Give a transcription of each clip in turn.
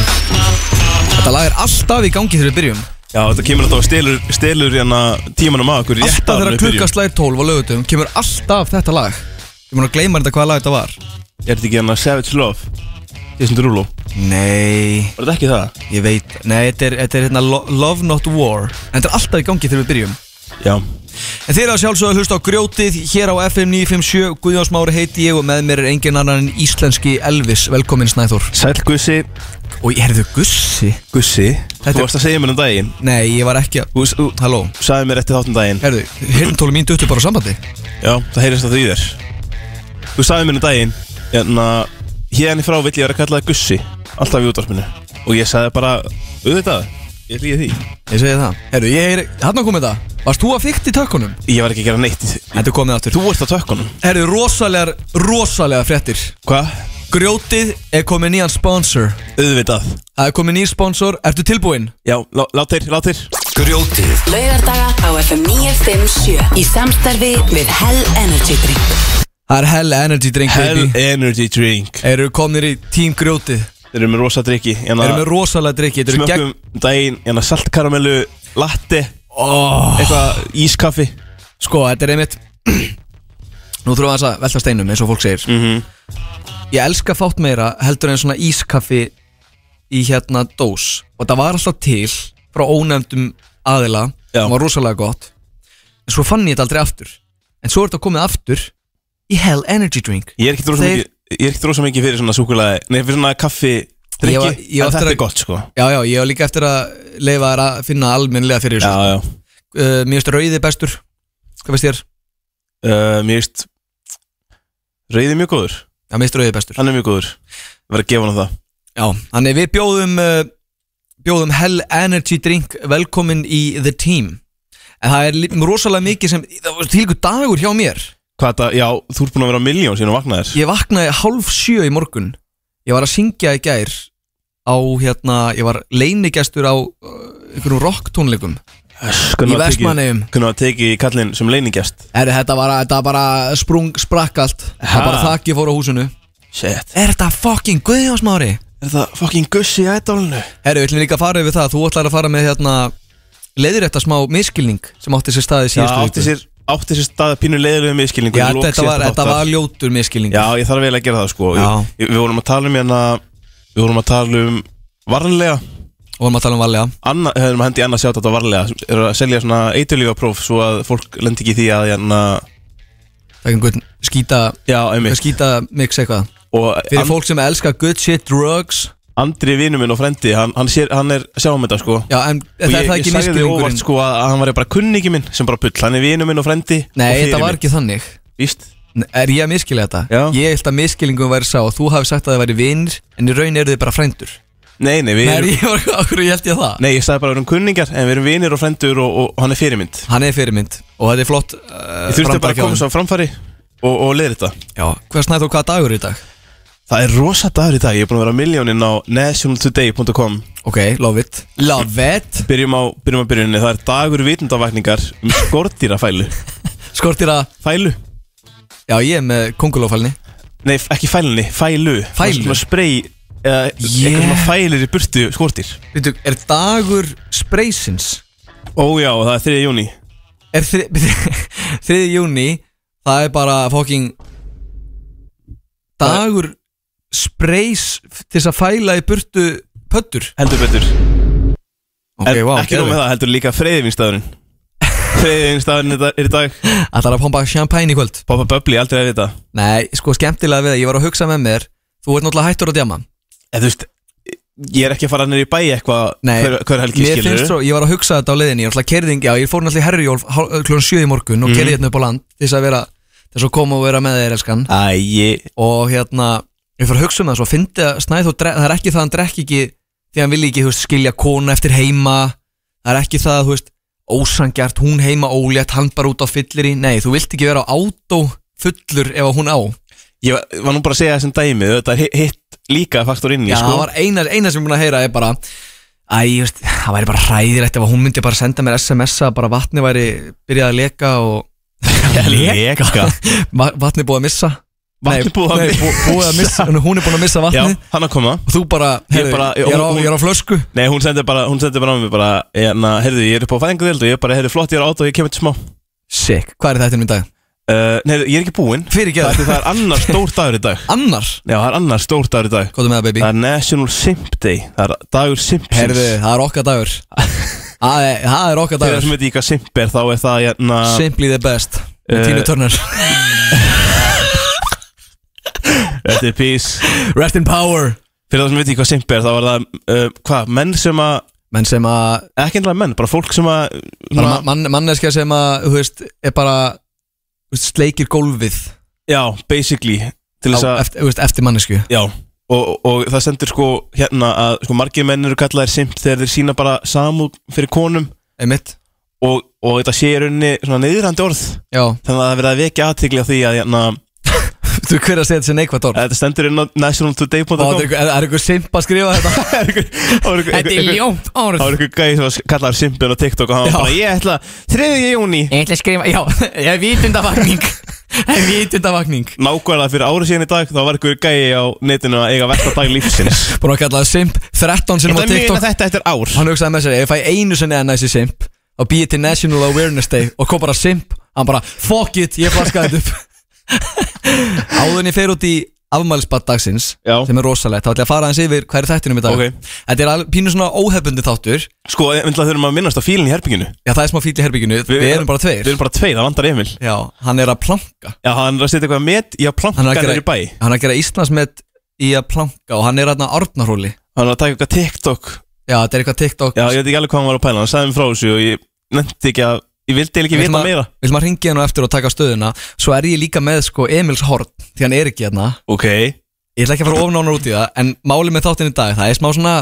Þetta lag er alltaf í gangi þegar við byrjum Já, þetta kemur alltaf og stelur, stelur hérna tímanum að okkur rétt Alltaf áður en þegar við byrjum. klukka slær 12 á lögutum Kemur alltaf þetta lag Ég mun að gleyma þetta hvaða lag þetta var Er þetta ekki hérna Savage Love? Jason Derulo Nei, Var þetta ekki það? ég veit Nei, þetta er, þetta er hérna lo- Love Not War En þetta er alltaf í gangi þegar við byrjum Já En þeir eru að sjálfsögðu að hlusta á grjótið hér á FM 957, Guðjón Smári heiti ég og með mér er engin annan en íslenski Elvis, velkomin Snæþór Sæl Gussi Og ég herðu gussi Gussi Þetta- Þú varst að segja mér um daginn Nei, ég var ekki að, Þú, þú halló sagði mér eftir þáttum daginn Herðu, hirntólu mín duttur bara á sambandi Já, það heyrist að því þér Þú sagði mér um daginn Hérna Hérna í frá vill ég vera að kalla það Gussi Alltaf í útvarpinu Og ég sagði bara Auðvitað Ég líði því Ég segi það Herðu, ég er, hann kom þetta Varst þú að fykta í tökkunum? Ég var ekki að gera neitt Þetta er komið aftur Þú ert á tökkunum Herðu, rosalegar, rosalega fréttir Hva? Grjótið er komið nýjan sponsor Auðvitað Það er komið nýjan sponsor, ertu tilbúinn? Já, lá, lát þeir, lát þeir Grjótið Laugardaga á FM 957 Í samstarfi við Hell Energy Drink Það er Hell Energy Drink Hell e- baby Energy Drink Eru komnir í Team Grjótið Þeir eru með rosa drikki Þeir Hérna Eru með rosalega drikki Þetta eru gegn Smökkum daginn Hérna saltkaramellu Latte oh. Eitthvað ískaffi Sko, þetta er einmitt Nú þurfum við aðeins að velta steinum eins og fólk segir mm -hmm. Ég elska fátt meira heldur en svona ískaffi í hérna dós Og það var alltaf til frá ónefndum aðila Já. Það var rosalega gott En svo fann ég þetta aldrei aftur En svo er þetta komið aftur í Hell Energy Drink Ég er ekkert rosa Þeir- mikið Ég er ekkert rosa mikið fyrir svona súkulega Nei, fyrir svona kaffi Ég Drikki var- ég var En þetta eftir er að- gott sko Já, já, ég var líka eftir að leifa þær að finna almennlega fyrir Já, þessu já uh, Mér finnst rauði bestur Hvað veist þér? Uh, Mér veist Rauði er mjög góður Já, mér finnst rauði bestur Hann er mjög góður Ég verð að gefa hann það Já, þannig við bjóðum uh, bjóðum Hell Energy Drink velkomin í The Team en það er li- rosalega mikið sem það var til ykkur dagur hjá mér Hvað þetta, já, þú ert búin að vera á miljón síðan að vakna þér ég vaknaði hálf sjö í morgun ég var að syngja í gær á hérna, ég var leinigestur á uh, einhverjum rocktónleikum Hvernig í var Eh, tekið- Vestmanneum Hvernig var tekið kallinn sem leiningest er þetta bara, þetta bara sprung sprakk allt Ha? það bara þakki fór á húsinu Shit er þetta fucking guðjónsmári Er það fucking gussi í ædolinu? herru, við ætlum líka að fara yfir það, þú ætlar að fara með hérna leiðrétta smá miskilning sem átti sér staði Já, síðustu átti sér, átti sér stað að pínu leiðilegu miskilningu Já, í lok þetta var, síðasta þetta þáttar. var ljótur miskilning Já, ég þarf vel að gera það sko Já. ég, ég- Við vorum að tala um hérna Við vorum að tala um varlega Og varum að tala um varlega Anna, höfum hendi annað sjátt þetta varlega sem eru að selja svona eiturlífapróf svo að fólk lendi ekki í því að hérna, Það er einhvern skýta, já, einmitt skýta mix eitthvað og Fyrir an, fólk sem elskar good shit, drugs Andri vinur minn og frendi hann, hann, sér, hann er sjáum þetta sko Já, en og það er það ekki ég sagði þið óvart miskilningurinn sko að að hann var bara kunningi minn sem bara pull, hann er vinur minn og frendi Nei, og þetta var ekki þannig víst N- Er ég að miskilja þetta? Já. Ég held að miskilningum væri sá að þú hafi sagt að það væri vinnir En í raun eru þið bara frændur Nei, nei, við Nei, erum ég var, okkur held ég það Nei, ég sagði bara við erum kunningar en við erum vinir og frendur og, og, og hann er fyrirmynd Hann er fyrirmynd og þetta er flott uh, Ég þurfti framtak bara að hjá koma honum. svo á framfæri og, og leiði þetta Já, hvað snæði þú hvaða dagur er í dag? Það er rosa dagur í dag, ég er búin að vera miljónin á nationaltoday.com Ok, love it Love it Byrjum á, byrjum á byrjunni, það er dagur vitundavakningar um skordýrafælu Skortir að, Fælu? já ég er með kongulófælni Nei, f- ekki fælunni, fælu Fælu? Svona spray, eða Yeah. eitthvað svona fælir í burtu skordýr Veitu, er dagur spreysins Ó já, það er 3. júni Er þri- 3. júni Það er bara fucking Dagur spreys Til þess að fæla í burtu pöttur Heldur betur Ok, en, wow, Ekki nóg með það, heldur líka freyðivinstæðurinn Freyðivinstæðurinn er í dag Það er að pompa champagne í kvöld Poppa Bubbly, aldrei að vita Nei, sko skemmtilega við það Ég var að hugsa með mér Þú ert náttúrulega hættur að djama En þú veist, ég er ekki að fara nýr í bæ eitthvað Nei, hver, hver helgi Mér skilur finnst svo, ég var að hugsa þetta á leiðinni Ég var alltaf kerðing, já, ég fór náttúrulega í herjólf Klun 7 í morgun Mhm. og mm. kerði hérna upp á land Til þess að vera, til þess að koma og vera með þeir elskan Æi, og hérna ég fyrir að hugsa um það svo fyndi að Snæþór dre- það er ekki það að hann drekki ekki því að hann vilji ekki þú veist, skilja konu eftir heima það er ekki það að þú veist ósangjart hún heima ólétt hann bara út á fyllir í nei þú vilt ekki vera á átó fullur ef að hún á Ég var, var nú bara að segja þessum dæmi Þetta er hi- hitt líka faktor inn í já sko. það var eina, eina sem ég er búin að heyra er bara æ ég veist það væri bara hræðilegt ef að hún myndi bara senda mér sms að bara vatni væri byrjað að leka og Leka Va- vatni búið að missa Vatni búið að nei, bú, búið að missa en Hún er búin að missa Já, vatnið hann að koma Og þú bara, Ég er heyrðu, bara- ég, er á, hún- ég er á flösku Nei, hún sendi bara, hún sendi bara á mig bara Hérna, heyrðu, ég er upp á fæðingadeild og ég bara, heyrðu, flott, ég er átt og ég kemur til smá Sick, hvað er þetta minn dag? uh, Nei, ég er ekki búinn Fyrir Það er, geða, það er annar stór dagur í dag annar Já, það er annar stór dagur í dag Hvað er með það baby? Það er National Simp Day Það er dagur Simpsons Herðu, það er okkar dagur Það er- það er okkar Þegar dagur sem veit ég hvað Simp er, þá er það hérna Simply the best Eh, Með Tina Turner Þetta er peace Rest in power Fyrir það sem veit ég hvað Simp er, þá er það uh, Hvað, menn sem að Menn sem að Ekki endilega menn, bara fólk sem að bara svona- ma- mann, Manneskja sem að, þú veist, er bara þú veist, Sleikir gólfið Já, basically Til þess á, að eftir, þú veist, eftir mannesku Já Og, og það sendur sko hérna að sko margir menn eru kallaðir simp þegar þeir sína bara samúð fyrir konum Einmitt og, og þetta sé í rauninni svona neyðrandi orð Já, þannig að það er verið að vekja aðtigli á því að hérna, þú hver að segja þetta sem neikvætt orð að þetta stendur inn á Og það er nationaltoday.com einhver- er einhver simp að skrifa þetta Það er einhver- það var einhver- einhver- ljómt það var einhver gæði sem kallaðir simpin á TikTok og hann Já. var bara ég ætla 3. júni Ég ætla að skrifa, já, ég er vitundavakning Ég er vitundavakning nákvæmlega fyrir árið síðan í dag þá var einhver gæði á netinu að eiga versta dag lífsins Búin að kalla það simp 13 Ég sinum á ætla að muna TikTok þetta eftir ár Hann hugsaði með sér, ef ég fæ einu sinni að næsi simp og býði til National Awareness Day og kom bara simp, hann bara fuck it, ég flaskaði þetta upp Áðurinn ég fer út í afmælisbad dagsins Já. sem er rosalegt, þá ætla ég að fara aðeins yfir hvað er þættinum í dag Ok. Þetta er alveg pínu svona óhefbundi þáttur Já, Sko, við þurfum að minnast á fílinn í herbygginu það er smá fíl í herbygginu, við, erum bara tveir Við erum bara tveir, það vandar Emil Já, hann er að planka Já, hann er að setja eitthvað met í að planka Hann er að niður í gera, bæ hann er að gera Íslandsmet í að planka og hann er aðna Arnarhóli Hann er að taka eitthvað TikTok Já, þetta er eitthvað TikTok Já, ég veit ekki alveg hvað hann var að pæla Hann sagði mér frá þessu og ég nefndi ekki að Ég vildi eiginlega ekki Vill vita maður- meira Vil maður ringi hann á eftir og taka stöðuna Svo er ég líka með sko Emils Hort Því hann er ekki hérna Ok Ég ætla ekki að fara ofan ánar út í það En málið með þáttinn í dag Það er smá svona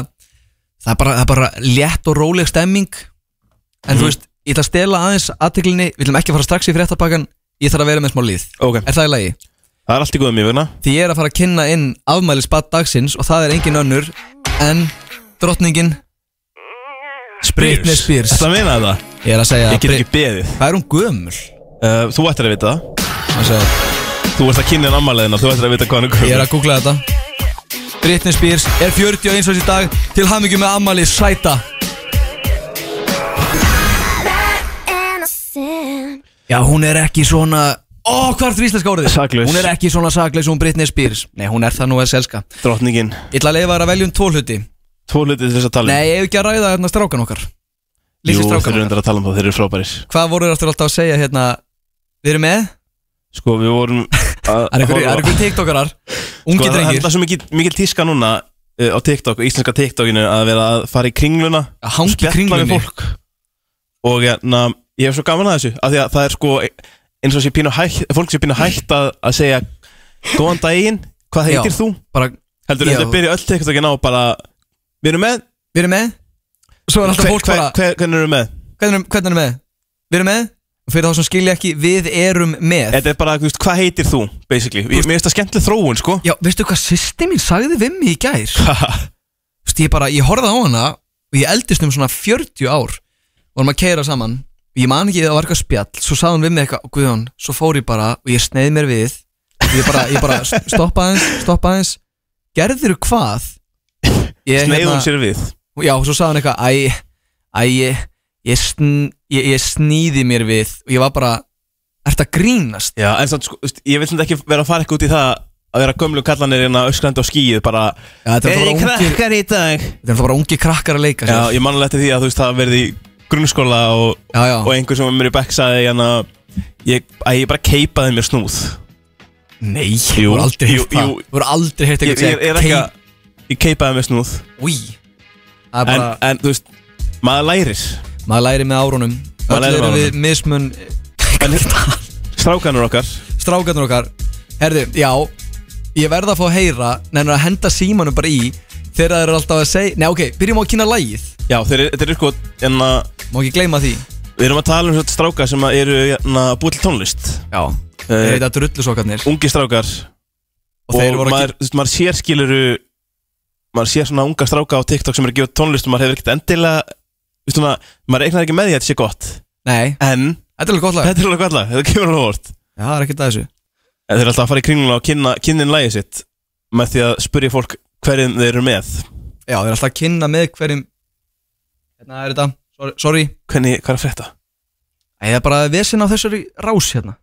Það er bara, það er bara létt og róleg stemming En Mhm. þú veist Ég ætla að stela aðeins aðteglinni Við ætlum ekki að fara strax í fréttabakkan Ég þarf að vera með smá líð Ok, Er það í lagi? það er allt í góðum mér vegna Því ég er að fara að kynna inn afmæli spatt dagsins Og það er engin önnur En drottningin Britney Spears. Þetta meina þetta Ég er að segja Ég get Brit- ekki beðið Hvað er hún gömul? uh, Þú ættir að vita það Hann segja Þú ert að kynna en ammaliðina Þú ættir að vita hvað hann er Ég er gömur að googla þetta Britney Spears er 40 eins og þessi dag Til hamingju með ammali sæta Já, hún er ekki svona Ó, hvað er þetta íslenska orðið? Saklaus. Hún er ekki svona saklaus hún Britney Spears Nei, hún er það nú að selska Drottningin Ég ætla að leifa þér að velja um tvo hluti Tvo hluti til þess að tala um. Nei, ég hef ekki að ræða hérna strákan okkar Jú, Lítið þeir strákan eru okkar undir að tala um það Þeir eru frábæris Hvað voru þér aftur alltaf að segja hérna Við erum með? Sko, við vorum að- Það er einhver- horfa- það er einhver tiktokarar Sko, Ungi það- það- drengir Það er svo mikil, mikil tíska núna uh, á TikTok, íslenska TikTokinu að vera að fara í kringluna Að hanga í spjalla við Kringlunni. fólk. Og hérna, ég hef svo gaman að þessu af því að það er sko eins og sé pínu hægt, fólk sé pínu hægt að, að segja góðan daginn, hvað heitir Já. þú? Bara, Heldur Já. þetta byrja öll TikTokin á bara við erum með, við erum með? Svo er alltaf hver, fólk bara hver, hvernig erum við með? Hvernig erum- hvernig erum við? Við erum með Og fyrir þá sem skilja ekki, við erum með Þetta er bara, þú veist, hvað heitir þú, basically? Ég, mér finnst það skemmtileg þróun, sko Já, veistu hvað sýsti mín sagði við mig í gær? Þú veist, ég bara, ég horfði á hana Og ég eldist um svona 40 ár Og hann maður keira saman Og ég man ekki, það var eitthvað spjall Svo sagði hann við mig eitthvað, guðjón Svo fór ég bara og ég sneiði mér við Og ég bara, ég bara stoppa aðeins, stoppa aðeins Gerðirðu hvað? Ég, hérna, Sneiðum sér við Já, svo sagði hann eitthvað Æ, æ, ég, ég, sn, ég, ég snýði mér við Og ég var bara, ert að grínast? Já, en samt, sko, þú veist, ég vil samt ekki vera að fara eitthvað út í það að vera gömlu kallanir en að öskrandi á skíið bara Já, þetta er alltaf bara ungir, í dag? þetta er alltaf bara ungi krakkar að leika Já, sér ég manna eftir því að þú veist það verði í grunnskóla og, já, já. og einhver sem var mér í bekk sagði hérna ég, að ég bara keipaði mér snúð Nei, Jú, þú voru aldrei jú, heyrt það jú. Þú voru aldrei heyrt Ég, eitthvað ég er ekki að ég keipaði mér snúð Új, það er en, bara, en þú veist, maður lærir maður læri með árunum Maður Öll lærir með eru við mismun eh, en strákanur okkar Strákarnir okkar Herðu, já, ég verða að fá að heyra Nennir að henda símanum bara í Þegar þeir eru alltaf að segja Nei, ok, byrjum á að kynna lægið Já, þeir eru- þetta er sko en að Má ekki gleyma því við erum að tala um svona stráka sem að eru hérna búið til tónlist Já Þeir uh, heita drullusokkarnir ungi strákar Og þeir voru maður, ekki þú veist, maður sér skiluru maður sér svona unga stráka á TikTok sem er að gefa út tónlist og maður hefur ekkert endilega þú veist, svona, maður reiknar ekki með því að þetta sé gott Nei, en þetta er alveg gott lag Já, Þetta er alveg gott lag, þetta kemur alveg á óvart það er ekkert að þessu En þeir eru alltaf að fara í kringluna og kynna, kynnin lægið sitt með því að spyrja fólk hverjum þeir eru með Já, þeir eru alltaf að kynna með hverjum Hérna er þetta, sorry, sorry. Hvernig, hvað er að frétta? Æ, Það er bara vesinn á þessari rás hérna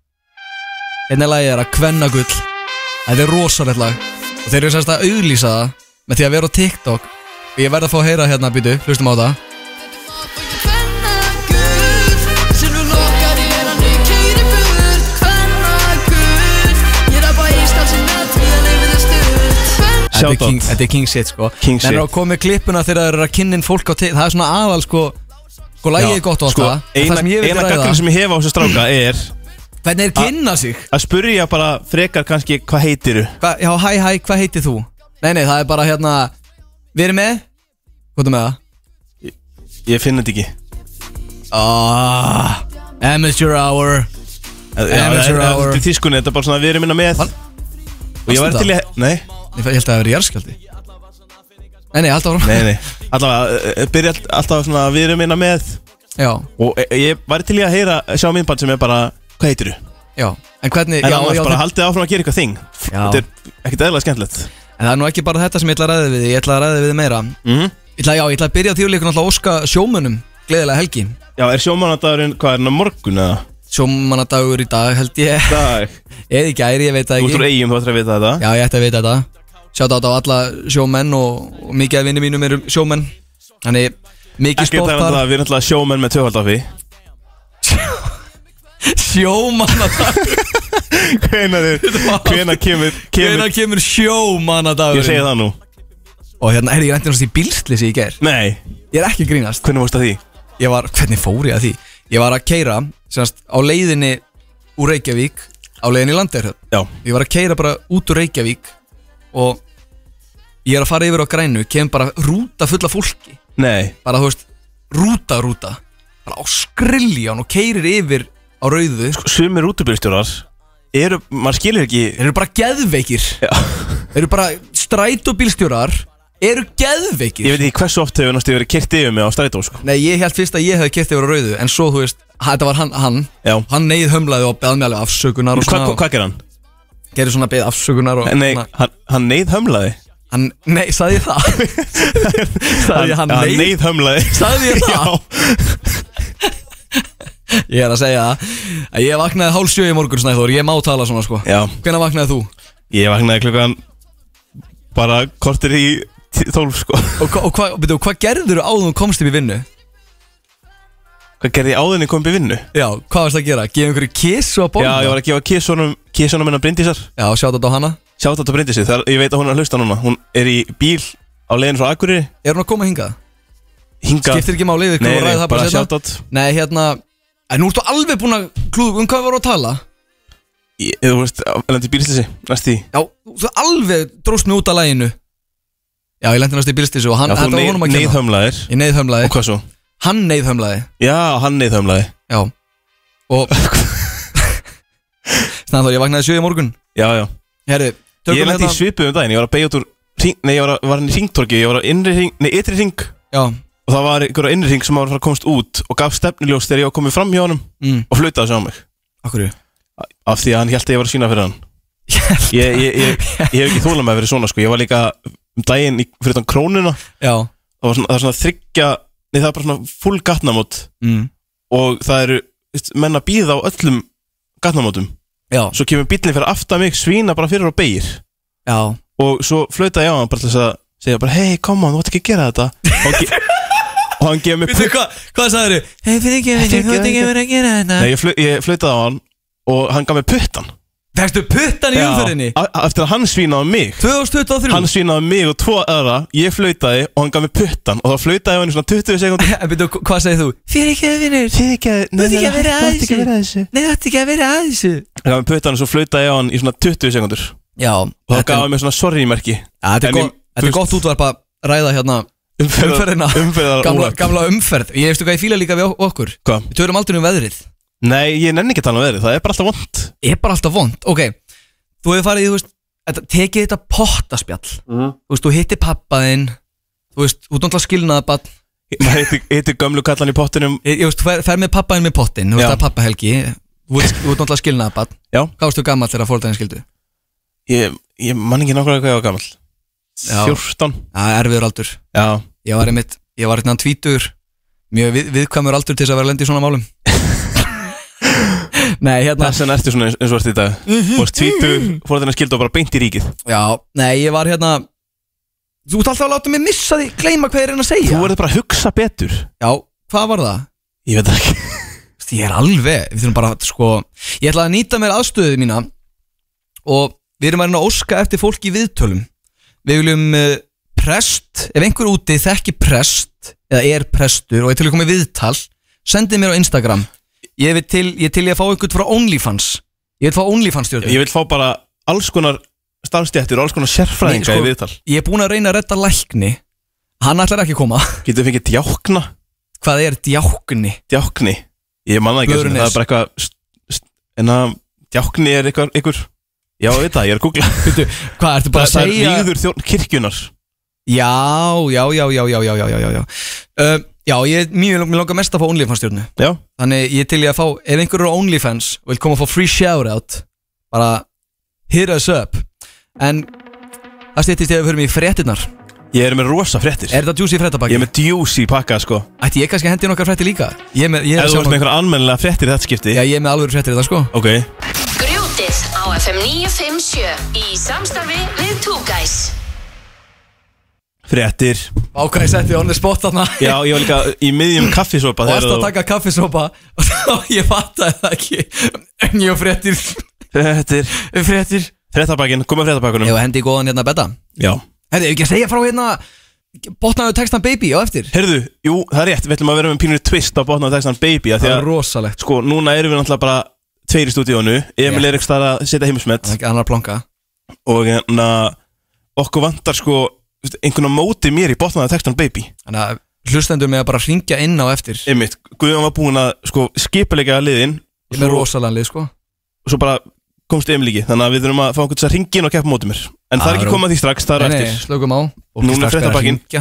Hérna lagi er að kvenna gull Þetta er rosalegt lag Og þeir eru semst að auglýsa það Með því að vera á TikTok Og ég verð að fá að heyra hérna, býtu, hlustum á það Þetta er Shoutout. king, þetta er king shit sko King Þeir eru shit. að koma með klippuna þegar þeir eru að kynnin fólk á TikTok Það er svona aðal sko Sko lagið er gott og allt sko, það En Eina, Það sem ég vil eina ræða gaggrin sem ég hef á þessu stráka er Hvernig er kynna sig að spyrja bara frekar kannski hvað heitiru Hva, já, hæ, hæ, hvað heitir þú? Nei, nei, það er bara hérna Við erum með Hvað er með það? Ég finn þetta ekki Ah, amateur hour Já, það Amateur er- hour. Þetta er þýskunni, þetta er bara svona við erum minna með Var- Og ég var varstu til í Nei, Ég fe- ég held að það veri jarðskjaldi Nei, nei, alltaf áfram nei, nei Allavega, eh, byrja all- alltaf svona við erum minna með Já, Og eh, ég var til í að heyra eh, sjá minnband sem er bara Hvað heitiru? já En hvernig En já, annars já, bara þe- haldið áfram að gera eitthvað þing Já. Þetta er ekkert eðla skemmtilegt En það er nú ekki bara þetta sem ég ætla að ræða við þig, Ég ætla að ræða við þig meira Mhm. Ég ætla, já, ég ætla að byrja á því að líka náttúrulega að óska sjómönnum Gleðilega helgi Já, er sjómannadagurinn, hvað er hann á morgun eða? Sjómannadagur í dag held ég Dag Eða í gæri, ég veit það Þú ert úr ekki eigum, þú ættir að vita þetta Já, ég ætti að vita þetta Sjátt á alla sjómenn og, og mikið af vinnum mínum eru sjómenn Þannig, mikið Ekki um stopp þetta er þar náttúrulega, við erum náttúrulega sjómenn með tvöfaldafi Sjómannadagur Hvenær, hvenær kemur, kemur Hvenær kemur sjómannadagur Ég segi það nú Og hérna, er ég reyndi náttúrulega í bílslisi í ger Nei, Ég er ekki að grínast hvernig fórst að því? Ég var, hvernig fór ég að því? Ég var að keira, semast, á leiðinni úr Reykjavík Á leiðinni í Landeirhöfn Já, Ég var að keira bara út úr Reykjavík Og ég er að fara yfir á grænu Kemur bara rúta fulla fólki nei Bara, þú veist, rúta, rúta Bara á skrillján og keirir yfir á rauðu Sko, Sumir útubyrstjórar eru, maður skilur ekki Þeir eru bara geðveikir Já. Þeir eru bara strætóbílstjórar Eru geðveikir Ég veit ekki hversu oft hefur náttúrulega verið kert yfir mig á strætó sko. Nei, ég held fyrst að ég hefði kert yfir á rauðu En svo, þú veist, ha- þetta var hann, hann Já Hann neyð hömlaði og beð mér alveg afsökunar og Hvað svona hva, hva gerir hann? Og gerir svona beð afsökunar og Nei, svona. hann, hann neyð hömlaði Hann, nei, sagði ég það Sagði ég hann Hann neyð neyð hömlaði Sagði ég það Já, Ég er að segja það að Ég vaknaði hálf sjö í morgun, Snæþór Ég má tala svona, sko já Hvenær vaknaði þú? Ég vaknaði klukkan bara kortir í tí- tólf sko Og, hva- og hvað hva, hva gerður þú áður en þú komst upp í vinnu? Hvað gerði ég áðurinn ég kom upp í vinnu? Já, hvað varst að gera? Gefa einhverju kiss og að borða? Já, ég var að gefa kissunum, kissunum minna Bryndísar Já, sjátt á hana Sjátt á Bryndísi, þar ég veit að hún er að hlusta núna Hún er í bíl á leiðin frá Akureyri Er hún að koma hingað? Hingað Skiptir ekki máli, við Nei, komum að nei, ræða það bara bara setna sjátt átt Nei, hérna En nú ertu alveg búin að klúðu um hvað við vorum að tala Þú veist, lendi bílslisi, næst því Já, þú alveg dróst mig út af læginu Já, ég lendi næst í bílstísu og hann, Já, þú þetta var honum að kenna neyðhömlaðir Ég neyðhömlaði, Og hvað svo? hann neyðhömlaði Já, hann neyðhömlaði Já Og Snæður, ég vaknaði sjö í morgun Já, já Herri, Ég tökum hérna- lendi í svipu um daginn, ég var að beigja út úr hring, Nei, ég var, að, var hann í ringtorki, ég var að innri hring Nei, ytri hring Já, Og það var einhverja innri hring sem var að fara að komast út Og gaf stefnuljós þegar ég var komið fram hjá honum mm, Og flautaði svo á mig okkur Af því að hann held að ég var að sína fyrir hann Já, Ég, ég, ég, ég hef ekki þólað með að vera svona sko Ég var líka um daginn í, fyrir þann krónuna Það var svona, það er svona þryggja Nei, það er bara svona full gatnamót mm, Og það eru veist, menn að býða á öllum gatnamótum já, Svo kemur bíllinn fyrir aftan mig, svína bara fyrir og beigir já og svo flauta ég á hann bara til þess að segja bara hei, koma, þú átt ekki að gera þetta og hann, ge og hann gefur mér Veitu hvað, hvað sagður þau? Hei, fyrir ekki, Þetta er þú ert ekki- ekki verið að gera þetta Nei, ég, flau- ég flautaði á hann og hann gaf mér puttan Verstu puttan í umferðinni? Já, a- eftir að hann svínaði mig 2023 hann svínaði mig og tvo aðra ég flautaði og hann gaf mér puttan og þá flautaði ég á hann í svona 20 sekund En byrju, hvað segir þú? Fyrir ekki að vinnur þið ekki að, nei, nei, þú átt ekki að vera þessu Nei, þetta ekki að vera að þessu hann gaf mér puttan og svo flautaði ég á hann í svona 20 sekundur Já, og þá gaf hann mér svona sorry-merki þetta er En ég- gott- þetta er þú gott útvarp að ræða hérna Umferðina. umferðar gamla, óhapp. gamla umferð Ég veistu hvað ég fíla líka við ok- okkur Hvað? Við törum aldrei um veðrið Nei, ég nenni ekki að tala um veðrið, það er bara alltaf vond Ég er bara alltaf vond Ok, þú hefur farið í, þú veist þetta, Tekið þetta pottaspjall Þú veist, þú hittir pappaðinn Þú veist, þú náttúrulega skilnaðabann Maður heitir- heitir gömlu kallan í pottinum Ég ég veist, fer, fer með pappaðinn með pottinn Þú veist, Já. það er pappahelgi Þú Þú ert þú ert náttúrulega skilnaða barn Já. Hvað varstu gammal þegar fórhaldaginn skildu? Ég, ég man ekki nákvæmlega hvað ég var gammal Já. 14 Já, erfiður aldur Já, Ég var einmitt, ég var einhvern tvítugur Mjög við, viðkvæmur aldur til þess að vera lendi í svona málum Nei, hérna þess vegna ertu svona eins eins og ert í dag Mhm. Fórst tvítur, fór þennan skildu og bara beint í ríkið Já, nei, ég var hérna Þú ert alltaf að láta mig missa því Gleima hvað ég er að segja Þú verður bara að hugsa betur Já, hvað var það? Ég veit það ekki Þú veist, Ég er alveg, við þurfum bara að, sko Ég ætla að nýta mér aðstöðu mína Og við erum að reyna að óska eftir fólki í viðtölum Við viljum uh, prest Ef einhver úti þekki prest Eða er prestur og er til að koma í viðtal Sendið mér á Instagram Ég vil til, ég til ég að fá einhvern frá OnlyFans Ég vil fá OnlyFans stjórnum Ég vil fá bara alls konar starfstjættir og alls konar sérfræðinga Nei, sko- í viðtal Ég er búin að reyna að redda lækni Hann ætlar ekki að koma Getur við fengið djákna? Hvað er djákni? Djákni? Ég manna ekki einu Blöðrunes. sinni, Það er bara eitthvað st- st- En að djákni er eitthvað ykkur Já, ég veit það, ég er að googla Veitu, hvað ertu bara að Það er segja? líður þjórn kirkjunar Já, já, já, já, já, já, já, já, já, já uh, Já, ég, mjög, mér langar mest að fá OnlyFans stjórnu Já, Þannig ég er til ég að fá, ef einhver eru á OnlyFans og vil koma að fá free shoutout bara hit us up En það stýttist ég að við höfum í fréttinnar ég er með rosa fréttir Er þetta juicy Ég fréttabaki? er með djúsi pakka, sko Ætti ég kannski að hendi nokkar frétti líka? Ég er með, ég er Ef að þú ert með sjá einhverja anmennilega fréttir í þetta skipti Já, ég er með alveg fréttir þetta sko Ok, Grjótið á FM 957 í samstarfi við Two Guys. fréttir Ákvæði setti on the spot þarna Já, ég var líka í miðjum kaffisopa Og þegar erst að þú- taka kaffisopa Og þá ég fattaði það ekki En ég á fréttir Fréttir Fréttir Fréttabakinn, kom með fréttabakkunum Ég hendi í góðan hérna betta Já Herðu, ekki að segja frá hérna Botnaðu textan Baby á eftir Herðu, jú, það er rétt Við ætlum að vera með pínur twist á botna á textan Baby af Því Það er að, rosalegt sko, núna erum við náttúrulega bara Tveir í stúdíónu Emil Já. er ekki þar að setja heimsmet Það er ekki annar planka Og hérna Okkur vantar, sko þú veist, Einhvern á móti mér í botna á textan Baby Þannig að hlustendur mig að bara hringja inn á eftir Einmitt, Guðjón var búinn að, sko, skipuleika liðin Ég er rosalanlið sko Og svo bara komst Emil ekki Þannig að við þurfum að fá einhvern þess að ringin og keppa móti mér En það Ah, er ekki rú. komað því strax, það er Nei, nei, eftir Slökum á Og Núna er strax bara að fréttabakkinn. hringja.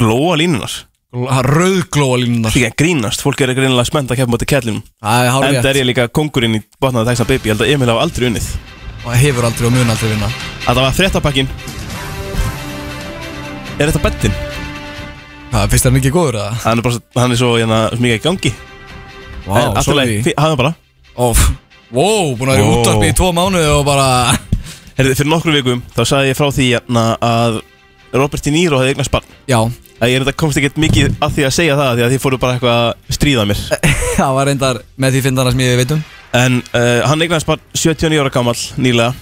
Glóa línunar Gl- Það er rauðglóa línunar Því að grínast, fólk er greinilega spennt að keppa móti kellinum Það er Enda er hárið ég líka kongurinn í botnaða textan baby Ég held að Emil hafa aldrei unnið Og hefur aldrei og mun aldrei vinna Að það var fréttabakkin Er þetta bettin? Það finnst það mikið góður að Hann er, bara, svo- hann er svo hérna, svo mikið í gangi En allt í lagi, fí- Hafðu bara Óf Wow, búin að vera í Wow. útvarpi í tvo mánuði og bara Herði, Fyrir nokkru vikum þá sagði ég frá því hérna, að Robert De Niro hefði eignast barn Já, Það er þetta komst ekkert mikið að því að segja það Því að þið fóru bara eitthvað að stríða mér það var reyndar með því fyndana sem ég veit um En uh, hann eignast barn 79 ára gamall nýlega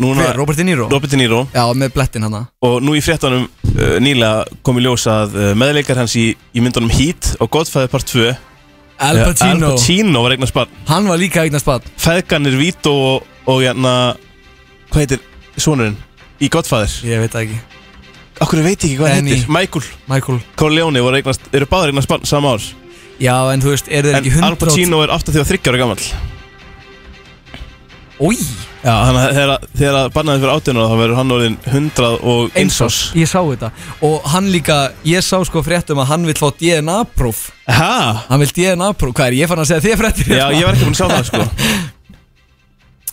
Núna, Hver, Robert De Niro? Robert De Niro Já, með blettin hana Og nú í fréttanum uh, nýlega kom í ljós að uh, meðleikar hans í, í myndunum Heat og Godfather Part 2 Al Pacino, Al Pacino var eignast barn hann var líka eignast barn Feðganir Vito og, og hérna Hvað heitir sonurinn? Í Godfather Ég veit það ekki Akkur veit ég ekki hvað hann Danny. heitir Michael Michael Corleone voru eignast Eru báður eignast barn sama ár Já, en þú veist, eru þeir En ekki Al hundra Pacino er 83 ára gammal Új, Já, þannig að þegar, þegar að barnaði fyrir 18 ára þá verður hann orðin 100 og eins einsás árs Ég sá þetta Og hann líka, ég sá sko fréttum að hann vill fá DNA-próf Hæ? Hann vill DNA-próf, hvað er ég fann að segja þér fréttir? Já, ég var ekki búin að sjá það sko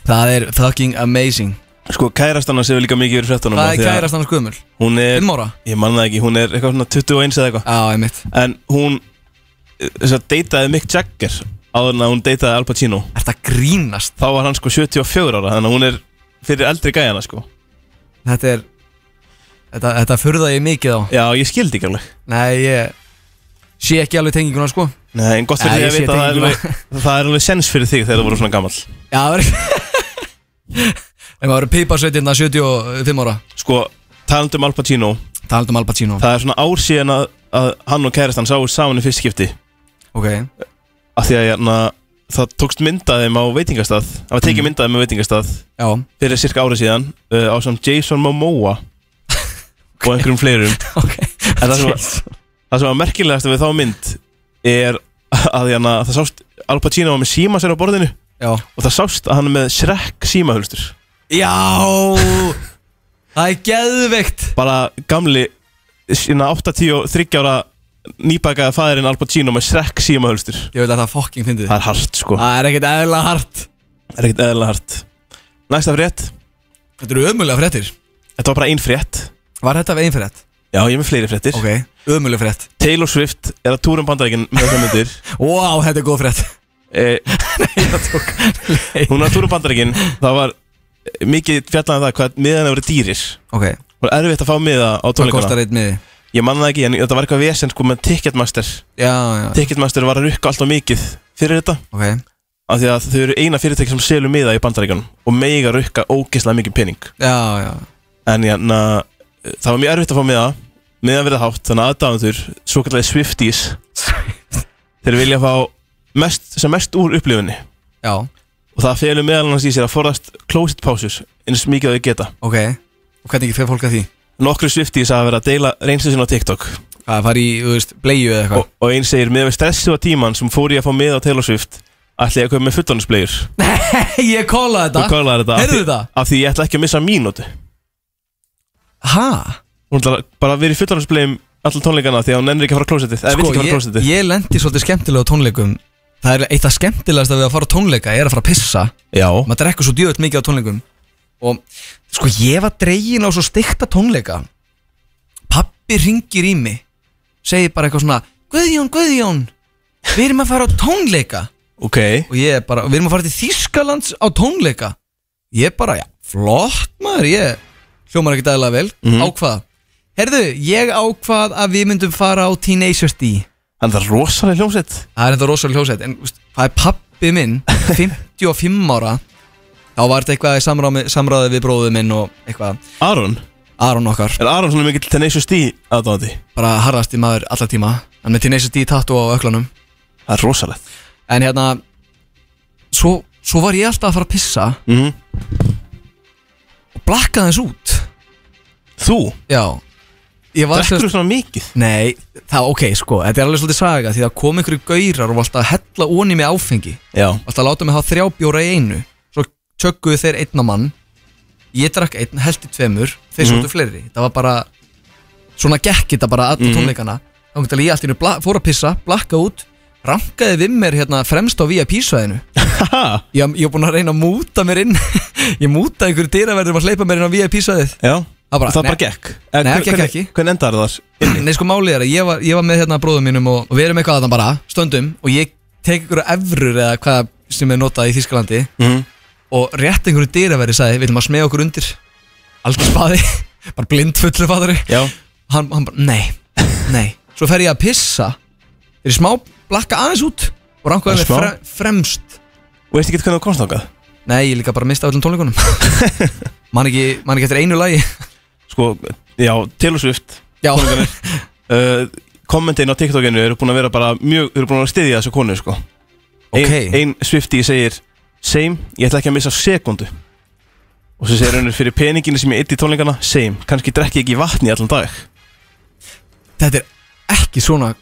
Það er fucking amazing Sko, kærast hann hefur líka mikið verið fréttanum Hvað er kærast annars guðmul? Hún er, Fimm ára? ég manna það ekki, hún er eitthvað svona 21 eða eitthvað Já, einmitt En hún, eh, þess að deytaði Mick Jagger áður en að hún deytaði Al Pacino Er það grínast? Þá var hann sko 74 ára, þannig að hún er fyrir eldri gæjana sko Þetta er Þetta, þetta furða ég mikið á Já, ég skildi ekki alveg Nei, ég Sé ekki alveg tenginguna sko Nei, en gott Nei, fyrir því ég að sé vita að það er tenginguna. alveg, það er alveg sens fyrir þig þegar þú voru svona gammal Já, það var Ef maður eru píparsveitirna 75 ára Sko, talandi um Al Pacino, Talandi um Al Pacino það er svona ár síðan að, að hann og kærast hann sáu saman í fyrst skipti Ok Af því að hérna, það tókst myndaðum á veitingastað Það var Mm. tekið mm. myndaðum á veitingastað Já fyrir cirka árið síðan uh, á samt Jason Momoa og einhverjum fleirum Ok En það sem var- það sem var merkilegast við þá mynd er að hérna, það sást Al Pacino var með síma sér á borðinu Já og það sást að hann er með Shrek símahulstur Já Það er geðveikt hérna, bara gamli sína 83 ára nýbakaða fæðurinn Al Pacino með Shrek símahölstur Ég veit að það fokking fyndið Það er hart sko, Það er ekkert eðla hart það er ekkert eðla hart Næsta frétt, Þetta eru ömulega fréttir þetta var bara ein frétt Var þetta við einn frétt? Já, ég er með fleiri fréttir Ok, ömulega frétt Taylor Swift er að túrum bandaríkinn með það myndir Vá, þetta er góð frétt eh, Hún er að túrum bandaríkinn Það var eh, mikið fjallaðan það hvað miðan hefur verið dýrir Ok, Það var erfitt að fá miða á hvað tónleikana kostar einn miði? Ég manna það ekki, en þetta var eitthvað vesen sko með Ticketmaster Já, já, Ticketmaster var að rukka alltaf mikið fyrir þetta ok af því að þau eru eina fyrirtæki sem selur miða í bandaríkanum og mega rukka ógeðslega mikið pening Já, já, en jæna, það var mjög erfitt að fá miða miða verið hátt, þannig að aðdáðandur svo kallar Swifties þeir vilja fá mest, sem mest úr upplifunni já, og það felur meðal annars í sér að forðast closet pásur eins mikið að þau geta ok Og hvernig fer fólk að því? nokkru Swifties að vera að deila reynslu sinna á TikTok Að fara í, þú veist, bleiðu eða og, eitthvað og einn segir, miða við stressu á tíman sem fór ég að fá miða á Taylor Swift ætla ég að köpa með fullónusblegur Nei, ég kóla þú þetta kallar þetta, af Heyrðu því- þetta? af því ég ætla ekki að missa mínútu Ha? hún ætlar bara að vera í fullorðansbleim allar tónleikana því að hún ennir ekki að fara á klósettið eða vill ekki fara á Sko, ég, klósettið ég lendi svolítið skemmtilega á tónleikum Það er eitt af skemmtilegasta við að fara á tónleika er að fara að pissa já maður drekkur svo djöðt mikið á tónleikum og sko ég var dregin á svo stikta tónleika pappi ringir í mig segir bara eitthvað svona Guðjón, Guðjón, við erum að fara á tónleika ok og ég er bara, við erum að fara til Þýskalands á tónleika ég er bara, já, flott maður ég hljómar ekki dæla vel, ákvað herðu, ég ákvað að við myndum fara á Teenagers D hann er rosalega hljómsett Það er þetta rosalega hljósætt En veist, það er pappi minn 55 ára Þá var þetta eitthvað í samráði, samráði við bróðu minn Og eitthvað Aron Aron okkar er Aron svona mikill Tenacious D aðdáðandi Bara harðasti maður alla tíma Hann með Tenacious D tattu á öklanum það er rosalegt En hérna Svo, svo var ég alltaf að fara að pissa mm Og blakkaði þess út þú Já Ég var drekkur þú svona mikið Nei, það ok sko Þetta er alveg svolítið saga Því það kom einhverju gaurar og var alltaf að hella onni með áfengi já Alltaf að láta mig hafa þrjá bjóra í einu Svo tjögguðu þeir einna mann Ég drakk einn, held í tveimur Þeir sóttu fleiri, það var bara Svona gekk þetta bara alla tónleikana Þá kom til að ég allt í einu bla- fór að pissa, blakka út Rankaði við mér hérna fremst á VIP-svæðinu haha Ég, ég var búin að reyna að múta mér inn Ég múta einhverju dyraverðum að hleypa mér inn á VIP-svæðið já Það bara- Og það nei. bara gekk Eh, Nei, það hver- gekk hvernig- ekki. hvernig endar það Nei sko málið er að ég var, ég var með hérna bróðum mínum og, og við erum eitthvað að það bara, stöndum Og ég tek ykkur efrur eða hvað sem er notað í Þískalandi mm. og rétt einhverju dýraveri sagði við ætlum að smega okkur undir algjör spaði, bara blind fullu fattari já hann, hann bara, nei, nei svo fer ég að pissa er ég smá, blakka aðeins út og Bara rankaði mig smá? fre, fremst og veist ekki hvernig þú komst ákað nei, ég líka bara mista öllum tónleikunum man ekki, man ekki eftir einu lagi sko já Taylor Swift já, uh, kommentin á TikTokinu eru búin að vera bara mjög, eru búin að stiðja þessu konu sko Ok. Ein, ein Swifty segir Same, ég ætla ekki að missa sekundu Og svo segir hennur fyrir peninginu sem ég eitt í tónleikana Same, kannski drekki ég ekki vatni allan dag þetta er ekki svona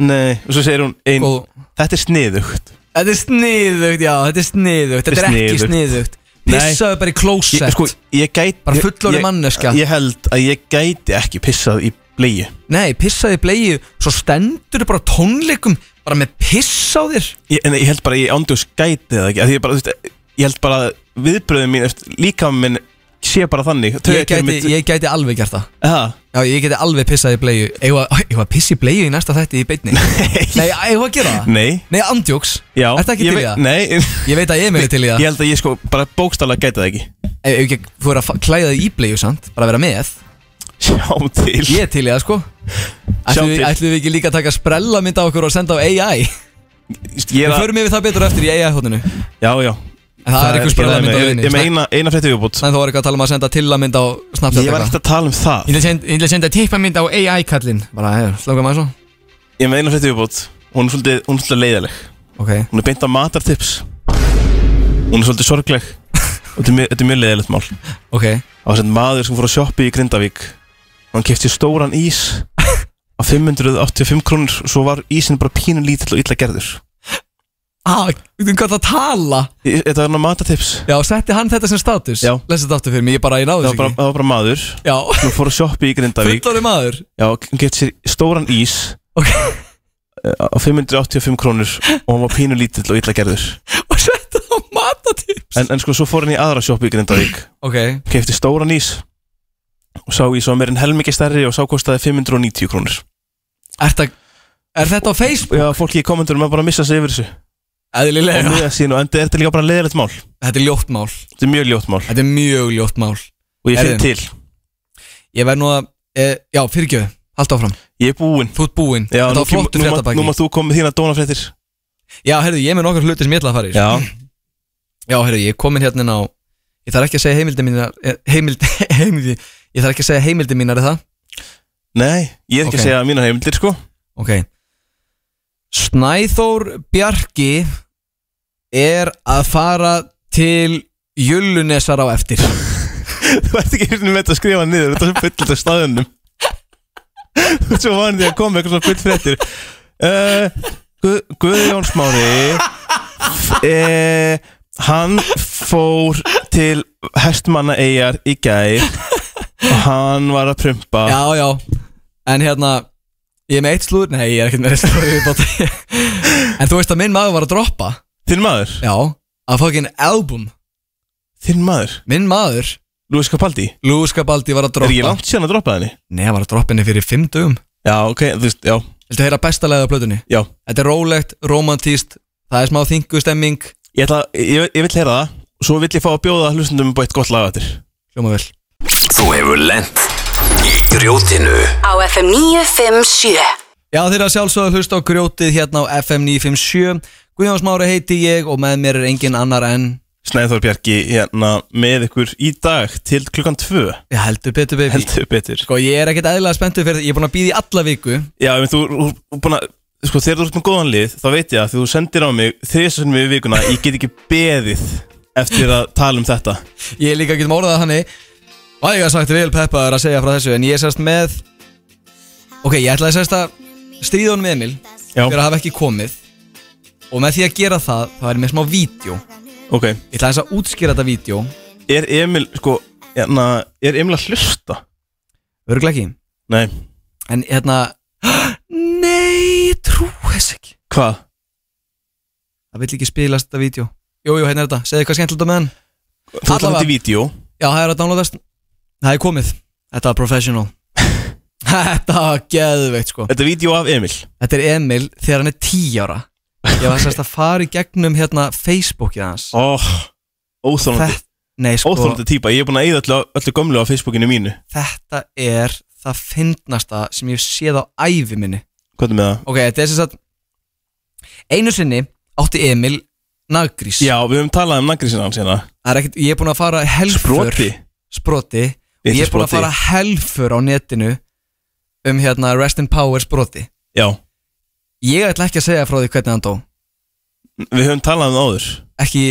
Nei, og svo segir hún ein, góð Þetta er sniðugt þetta er sniðugt, já, þetta er sniðugt þetta er ekki sniðugt Nei. pissaðu bara í klósett ég, sko, ég gæti Bara fullorðin ég- manneskja. Ég held að ég gæti ekki pissað í bleju nei, pissaðu í bleið svo stendur bara á tónleikum bara með piss á þér ég, En ég held bara að ég ándjós gæti það ekki af því ég, bara, þú veist, ég held bara að viðbröðum mín eftir, Líka minn sé bara þannig ég gæti, ég gæti alveg gert það ég, Já, ég gæti alveg pissað í bleiðu Eða að pissa í bleiðu í næsta þætti í beinni Nei, eða að gera það? Nei Nei, andjóks Já Ertu ekki ég til í vei- það? Nei Ég veit að ég er með til í það Ég held að ég sko bara bókstálega gæti það ekki Ef ef ekki þú er að fa- klæða þig í bleiðu samt Bara að vera með Sjá til Ég er til í það, sko Ætlum við- til. ætlum við ekki líka að taka sprella mynda okkur og senda á AI Ég Við er að förum yfir það betur eftir í AI-hóttinu Já, já En það er einhver sprella ég- mynd á ég- viðinni Ég með eina, eina frétti viðbútt En þá var eitthvað að tala um að senda til að mynda á Snapchat Ég var eitthvað. ekkert að tala um það Ég ætla að senda- ég ætla að senda tippamynd á AI-kallinn Bara, hey, slökum aðeins og Ég með eina frétti viðbútt Hún er svolítið, hún er svolítið leiðileg Ok, Hún er beint á matartips Hún er svolítið sorgleg Og Þetta er mjög- þetta er mjög leiðilegt mál Það ok var sem maður sem fór að sjoppi í Grindavík Og Hann kefti stóran ís Á 585 krónur og Svo var ísin bara pínu lítill og illa gerður Ah, þú hvað það tala Ég- Þetta var hann matartips Já, setti hann þetta sem status? Já. Lesa þetta aftur fyrir mig, ég bara, ég Það náðu var þess bara, ekki það var bara maður Já, Hún fór að sjoppi í Grindavík fullari maður Já, hún gett sér stóran ís Ok. á 585 krónur og hann var pínu lítill og illa gerður og setja það á matatips en, en sko svo fór hann í aðra sjoppu í Grindavík Ok, kefti stóran ís og sá ís á meir en helmingi stærri og sá kostaði 590 krónur er, það, er þetta á Facebook? Já, fólki í kommenturum er bara að missa sig yfir þessu og Eðlilega, miða sín og enda er þetta líka bara leðilegt mál þetta er ljótt mál þetta er mjög ljótt mál Þetta er mjög ljótt mál og ég finn Herðu. til, Ég verð nú að, e, já fyrirgjöðu, halda áfram ég er búinn Þú ert búinn, Já, þetta nú, var kem- flottu nú, má- nú fréttabæki má þú koma með þína dónafréttir Já, heyrðu, ég er með nokkar hluti sem ég ætla að fara í sko. Já, Já, heyrðu, ég er komin hérna inn á Ég þarf ekki að segja heimildi mínar eh, Heimildi, heimildi Ég þarf ekki að segja heimildi mínar, er það? nei, ég er ekki Ok. að segja mína heimildir sko Ok Snæþór Bjarki er að fara til Jöllunesar á eftir Þú ert ekki hérna með þetta að skrifa niður Þetta er fullt af staðunum Þú ert svo vanið því að koma með eitthvað svona fullt fréttir uh, Guð, Guðjón Smári uh, Hann fór til hestmanna eigjar í gær og hann var að prumpa Já, já En hérna Ég er með eitt slúður Nei, ég er ekkert með eitt slúður í bóti. En þú veist að minn maður var að droppa Þinn maður, Já Að fucking album þinn maður Minn maður Lúi Skapaldi, Lúi Skabaldi var að er ekki droppa langt síðan að droppa henni? Nei, hann var að droppa henni fyrir fimm dögum Já, ok, þú veist, já, Viltu heyra besta lagið á plötunni? já Þetta er rólegt, romantíst Það er smá þingu stemming Ég, ætla, ég, ég vil heyra það, svo vil ég fá að bjóða hlustundum upp á eitt gott lag eftir Hljóma vel Þú hefur lent í grjótinu Á FM 957 Já, þeir eru að sjálfsögðu hlust á grjótið hérna á FM 957 Guðjón Smári heiti ég og með mér er engin annar en Snæður Bjarki hérna með ykkur í dag til klukkan 2 Já, heldur betur baby heldur betur Sko, ég er ekkert eðlilega spenntur fyrir Ég er búin að býða í alla viku Já, en þú þú- þú búin að sko þegar þú ert með góðan lið þá veit ég að því þú sendir á mig þriðsvöldum við vikuna ég get ekki beðið eftir að tala um þetta Ég er líka ekki morðað þannig Og ég hef sagt vel peppaður að segja frá þessu En ég er sérst með Ok, ég ætlaði sérst að stríða honum Emil Já, Fyrir að hafa ekki komið Og með því að gera það, það er ég með smá vídeo ok Ég ætla þess að útskýra þetta vídeo Er Emil, sko, hérna er Emil að hlusta? Örgulega ekki Nei, En hérna Nei, ég trú þess ekki hvað? Það vill ekki spilast þetta vídeo Jú, jú, hérna er þetta, segðu hvað skemmtilegt á meðan Þú ætlar Allavega. þetta í vídeo Já, það er að downloadast Það er komið, þetta var professional Þetta var geðveikt sko Þetta er vídeo af Emil Þetta er Emil þegar hann er 10 ára Ég var sérst að fara í gegnum hérna Facebookið hans Ó, óþólandi Þetta- Nei, sko, Óþólandi típa, ég er búin að eyða öllu, öllu gömlu á Facebookinu mínu þetta er það fyndnasta sem ég hef séð á ævi minni Hvað er með það? Ok, þetta er sem sagt Einu sinni átti Emil naggrís Já, við höfum talað um nagri sinna hans hérna Það er ekkert, ég er búin að fara helfur Sproti sproti og ég er búin að fara helfur á netinu um hérna Rest in Power sproti Já, ég ætla ekki að segja frá því hvernig hann dó við höfum talað um það áður ekki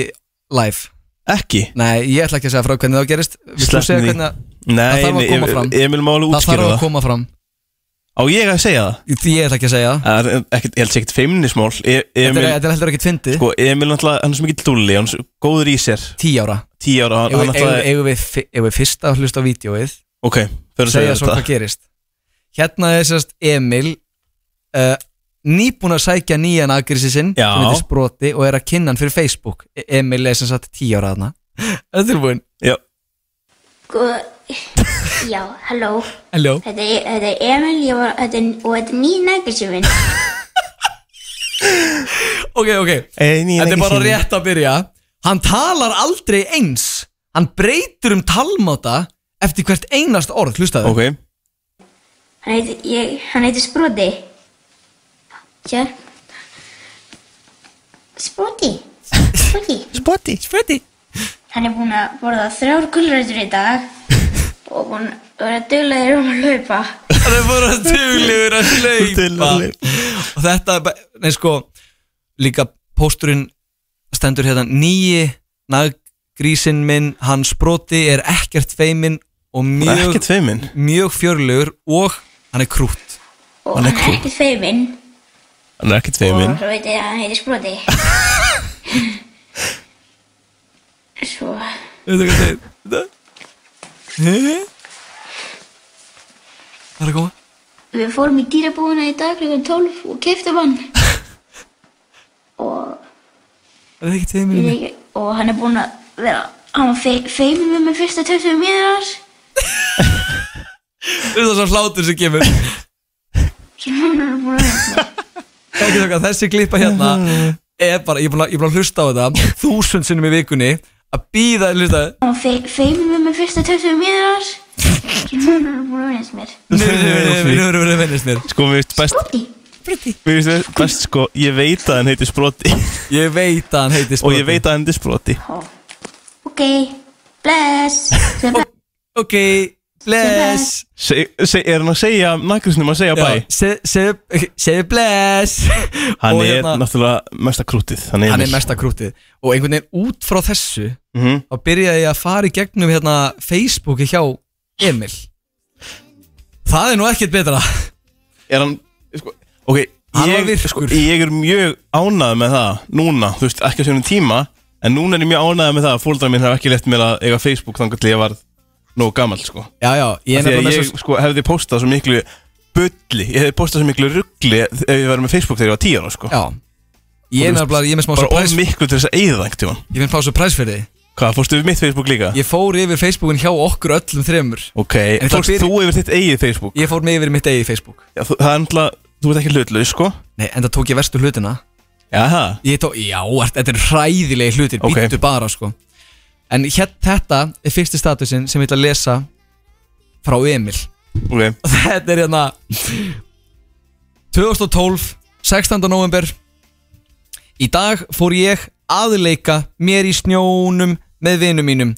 live, Ekki? nei ég ætla ekki að segja frá hvernig það gerist Vilt þú Sleppum segja því. hvernig það, Nei, þarf að nei, koma Emil- fram. Emil má alveg það þarf útskýra að það koma fram Á ég að segja það? Því ég ætla ekki að segja það Það er ekkert, ég held sér ekkert feimnismól e þetta Emil, er, þetta er heldur ekkert fyndið, sko, Emil náttúrulega, hann er svo mikið dulli Hann er svo góður í sér, 10 ára tíu ára Hann hann eigum eigum- náttúrulega, eigum við, fi- eigum við fyrst að hlusta á vídjóið ok, fyrir að segja segja svo þetta hvað gerist hérna er sérst Emil uh, nýbúin að sækja nýjan agrissi sinn Já. sem heitir Sproti og er að kynna hann fyrir Facebook E- Emil er sem sagt 10 ára þarna Það er tilbúin Já, Góð- Já, halló Hello Þetta er, þetta er Emil ég var, þetta er, og þetta er ný nægisum minn Ok, ok Ein Þetta í er einu bara sinni. rétt að byrja Hann talar aldrei eins Hann breytur um talmáta eftir hvert einast orð, hlustaðu ok Hann heitir, ég, hann heitir Sproti Sér Sproti Sproti Spoti Spoti Hann er búinn að borða þrjár gulrætur í dag og búinn að vera duglegur um að laupa Það er bara duglegur að hlaupa Duglegur. Og þetta er bara, nei sko Líka pósturinn stendur hérna Nýji naggrísinn minn Hann Sproti er ekkert feiminn Og Það er mjög, ekkert feimin mjög fjörlegur Og hann er krútt og Hann hann er er cool. ekkert feiminn Hann er ekkert og feimin svo veit ég að hann heitir Sproti Svo Þetta er hvað þeir Þetta Það er að koma Við fórum í dýrabúðina í dag kl. 12 og keiftum hann. og, Er það ekki til heimilinu? ég, og hann er búinn að vera, hann var fe feimið með mig fyrsta 20 mínútur. Þú veist það svo hlátur sem kemur Sem hann er búinn að vera. Ekki þakka, Þessi klippa hérna er bara, ég er búin að- ég er búin að hlusta á þetta Þúsund sinnum í vikunni Að býða, hlusta Hann var fe feimið með mig fyrsta 20 mínútur. Sem hann er búinn að vera mér. Nú erum við vinnist mér Sko, mér finnst best, Úti. mér finnst best, sko, ég veit að hann heitir Sproti Ég veit að hann heitir Og ég veit að hann heitir Sproti Ok, bless. Sem bless. Ok, bless se, se, Er hann að segja, nakkursnum að segja Já, bæ? se- Segðu segðu bless Hann Og er hérna- náttúrulega mesta krútið Hann er, Hann er mesta krútið Og einhvern veginn út frá þessu mm Þá byrjaði ég að fara í gegnum hérna Facebooki hjá Emil Það er nú ekkert betra er hann sko, Ok, Hann var ég, sko, virkur. ég er mjög ánæð með það núna Þú veist, ekki á sjónum tíma En núna er ég mjög ánæð með það að fóldrar minn hef ekki lett mér að eiga Facebook þangar til ég var nógu gamall sko. Já, já, ég er Því að nefnilega ég svo sko, hefði postað svo miklu bulli Ég hefði postað svo miklu ruggli ef ég var með Facebook þegar ég var 10 ára sko. Já Ég er Þú veist, nefnilega, ég er með smá Bara of surprise miklu til þess að eigða það einhvern tímann. Ég finn fá surprise fyrir því Hvað, fórstu við mitt Facebook líka? Ég fór yfir Facebookin hjá okkur öllum þremur Ok, En það fórst byrja- þú yfir þitt eigið Facebook? Ég fór með yfir mitt eigi Facebook Já, þú, það er náttúrulega, þú ert ekki hlutlaus sko Nei, en það tók ég verstu hlutina Jaha, Ég tók, já, ert- þetta er hræðilegi hlutir Ok. okay. Býttu bara, sko En hér, þetta er fyrsti statusin sem ég ætla að lesa Frá Emil ok Og þetta er hérna 2012 16. november Í dag fór ég aðleika mér í snjónum með vinum mínum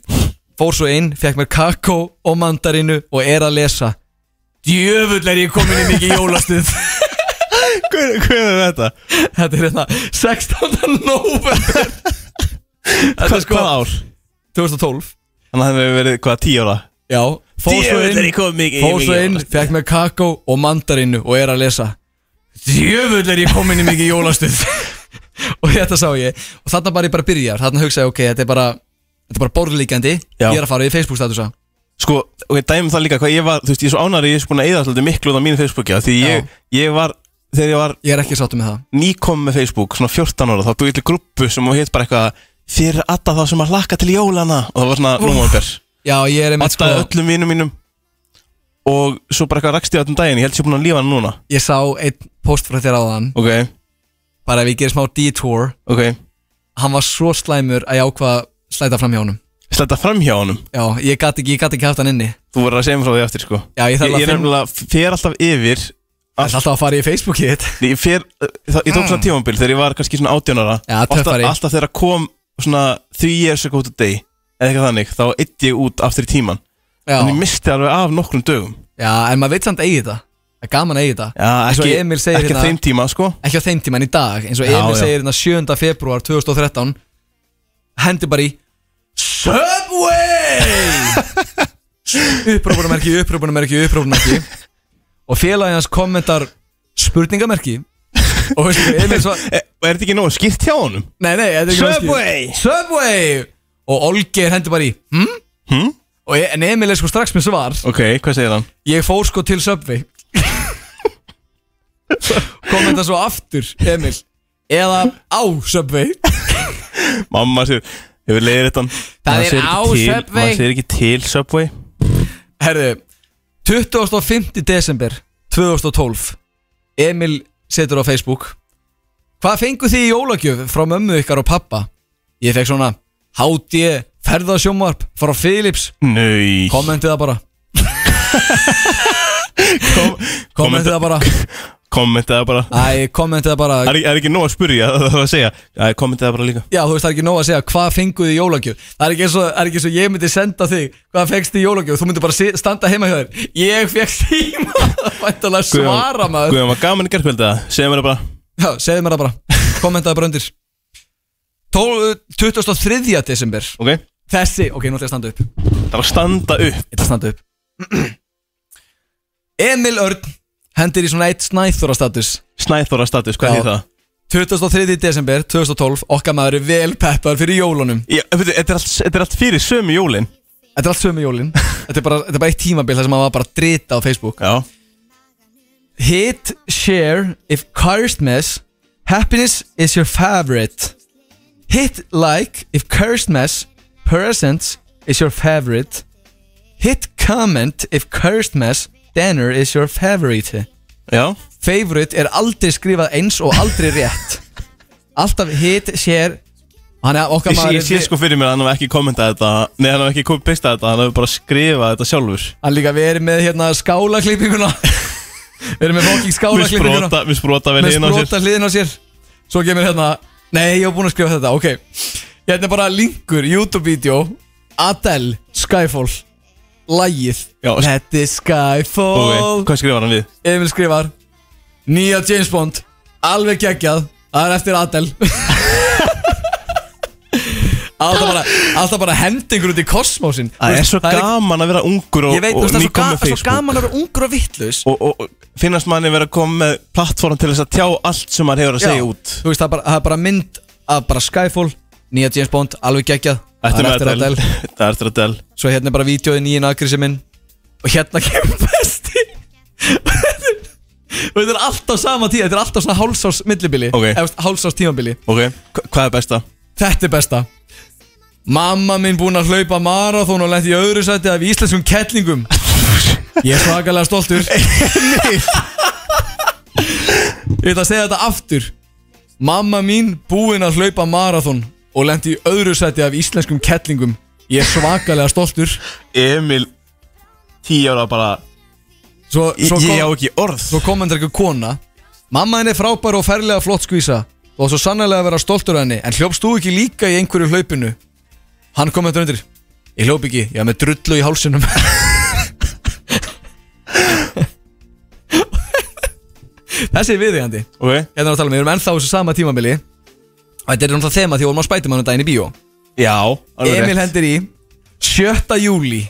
Fór svo inn, fekk mér kakó og mandarinu og er að lesa Djöfull er ég komin í mikið jólastuð Hver, hver er þetta? Þetta er hérna 16. november Þetta er Hvað, sko hvað ár? 2012 Þannig að það hefur verið hvað, tíu ára? Já, fór svo Djöfull er ég inn kominn mikið í Fór mikið svo inn, jólastuð. fekk mér kakó og mandarinu og er að lesa Djöfull er ég komin í mikið jólastuð Og þetta sá ég Og þarna bara ég bara byrjar, þarna hugsaði ég, ok, þetta er bara Þetta er bara borðlíkjandi, Já. ég er að fara í Facebook statusa Sko, ok, dæmum það líka hvað ég var Þú veist, ég er svo ánæri, ég er svo búin að eyða alltaf miklu á mínu Facebooki af Því ég, ég var, þegar ég var Ég er ekki sáttu með það nýkom með Facebook, svona 14 ára Þá búið til grúppu sem hétt bara eitthvað Fyrir alla þá sem að laka til jólana Og það var svona nómóðber Já, ég er einmitt sko, Alltaf öllum vinum mínum Og svo bara eitthvað rakst ég öllum daginn Ég held sér búin að lífa hann núna ég sá einn post frá þér áðan Ok, Bara ef ég gerir smá detour ok Hann var svo slæmur að ég ákvað að slæta fram hjá honum Sletta fram hjá honum Já, ég gat ekki, ég gat ekki haft hann inni Þú voru að segja mér frá því eftir sko Já, ég Ég, þarf ég að finna nefnilega fer alltaf yfir Það er alltaf að fara í Facebookið þitt Nei, Ég, fer, uh, það, ég tók svona tímambil þegar ég var kannski svona 18 ára Mm. Já, alltaf, töffari. alltaf þegar kom svona 3 years ago today eða eitthvað þannig, þá eitt ég út aftur í tíman Já, en ég misti alveg af nokkrum dögum já en maður veit samt eigi þetta Það er gaman að eigi þetta Já, Eins og ekki, Emil segir ekki á hérna- þeim tíma sko Ekki á þeim tíma en í dag Eins og Já, Emil já. segir hérna 7. februar 2013 Hendi bara í Subway Upprópunamerki, upprópunamerki, upprópunamerki Og félagið hans kommentar Spurningamerki Og veistu hvað Emil svo e, og Er þetta ekki nógu skýrt hjá honum? Nei, nei, þetta er ekki mannskýr. Subway! Subway Og Olgeir hendi bara í Hm? Hm? Og E- en Emil er sko strax með svar Ok, hvað segir hann? Ég fór sko til Subway Kom þetta svo aftur, Emil Eða á Subway Mamma sér, hefur leiðir þetta Það er á Subway. Það segir ekki til Subway Herðu, 25. desember 2012 Emil setur á Facebook Hvað fenguð þið í jólagjöf frá mömmu ykkar og pappa? Ég fekk svona HD ferðasjómvarp frá Philips Nei Kommentið það bara Kommentið það bara Kommentaði bara Æ, kommentið það bara Það er, er ekki nóg að spurja, það er að segja Kommentaði það bara líka Já, þú veist, það er ekki nóg að segja hvað fenguð í jólagjöf Það er ekki eins og, það er ekki eins og ég myndi senda þig hvað fengst í jólagjöf, þú myndi bara si- standa heima hjá þér Ég fekk síma Væntalega svara maður Guðjón var gaman í gerðkvölda Segðu mér það bara Já, segðu mér það bara, kommentaði bara undir Tól- 23. desember Ok, Þessi, ok, nú ætla ég að standa upp Ég það var að standa upp ætla að standa upp Emil Örn hendir í svona eitt snæþóra status Snæþóra status, hvað Já. er það? 23. desember 2012 okkar maður er vel peppar fyrir jólunum Já, veitu, þetta er allt, þetta er allt fyrir sömu jólin Þetta er allt sömu jólin Þetta er bara, þetta er bara eitt tímabil þar sem maður var bara að drita á Facebook Já Hit, share, if cursed Happiness is your favorite Hit like if cursed mess Presents is your favorite Hit comment if cursed mess Dinner is your favorite Já, Favorite er aldrei skrifað eins og aldrei rétt Alltaf hit, share Þannig að okkar ég, sé- maður ég sé sko fyrir mér að hann hef ekki kommentað þetta Nei, hann hef ekki kommentað þetta, hann hef bara skrifað þetta sjálfur Hann líka verið með hérna skálaklippinguna Verið með fokking Við skálaklippinguna sprota, við sprota vel hérna. Með inn á sér sprota hliðin á sér Svo kemur hérna Nei, ég hef búin að skrifa þetta, ok Hérna er bara linkur, YouTube-vídeó Adele, Skyfall Lægið Já, sk- Þetta er Skyfall Og hvað skrifar hann við? Emil skrifar Nýja James Bond Alveg geggjað Það er eftir Adele Alltaf bara, alltaf bara hendingur út í kosmósin Það er svo ekki- gaman að vera ungur og, Ég veit, þú og veist, það er svo, nýkomin ga svo gaman að vera ungur og vittlaus og, og, og finnast manni vera að koma með plattform til þess að tjá allt sem maður hefur að segja út Þú veist, það er bara, það er bara mynd að bara Skyfall, nýja James Bond, alveg geggjað Þetta Það er er með Adele Adele. Þetta er eftir Adele Svo hérna er bara vídeoið nýjinn agrissi minn Og hérna kemur besti Og þetta er alltaf sama tíð Þetta er alltaf svona hálsás millibili Ok. Eða, þú veist, Hálsás tímabili Ok, hva- hvað er besta? Þetta er besta Mamma minn búin að hlaupa marathón og lendi í öðru sæti af íslenskum kettlingum Ég er svakalega stoltur Ég ætla að segja þetta aftur Mamma mín búin að hlaupa marathón og lendi í öðru sæti af íslenskum kettlingum Ég er svakalega stoltur Emil, tíu ára bara Svo, Ég, svo ég á kom, ekki orð svo kom hendur eitthvað kona Mamma henni er frábær og ferlega flott skvísa og svo sannlega að vera stoltur af henni en hljópst þú ekki líka í einhverju hlaupinu Hann kom hendur undir Ég hljóp ekki, ég var með drullu í hálsinum Þessi er viðigandi Ok, Hérna er að tala um, við erum ennþá á þessu sama tímabili og þetta er náttúrulega þema því við vorum á spætumannu daginn í bíó já alveg Emil rétt. hendir í 7. júli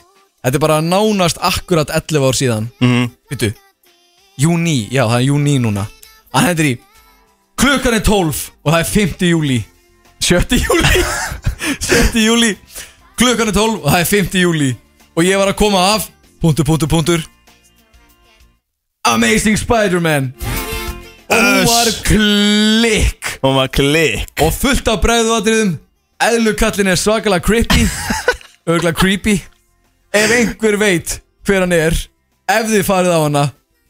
Þetta er bara nánast akkurat 11 ár síðan Mhm. Vittu Júni, já það er júni núna Hann hendir í Klukkan er 12 og það er 5. júli 7. júli 7. júli Klukkan er 12 og það er 5. júli Og ég var að koma af Puntur, puntur, puntur Amazing Spider-Man Og Öss. var klikk Og maður klikk og fullt af bræðuatriðum eðlukallin er svakalega creepy örgulega creepy ef einhver veit hver hann er ef þið farið á hana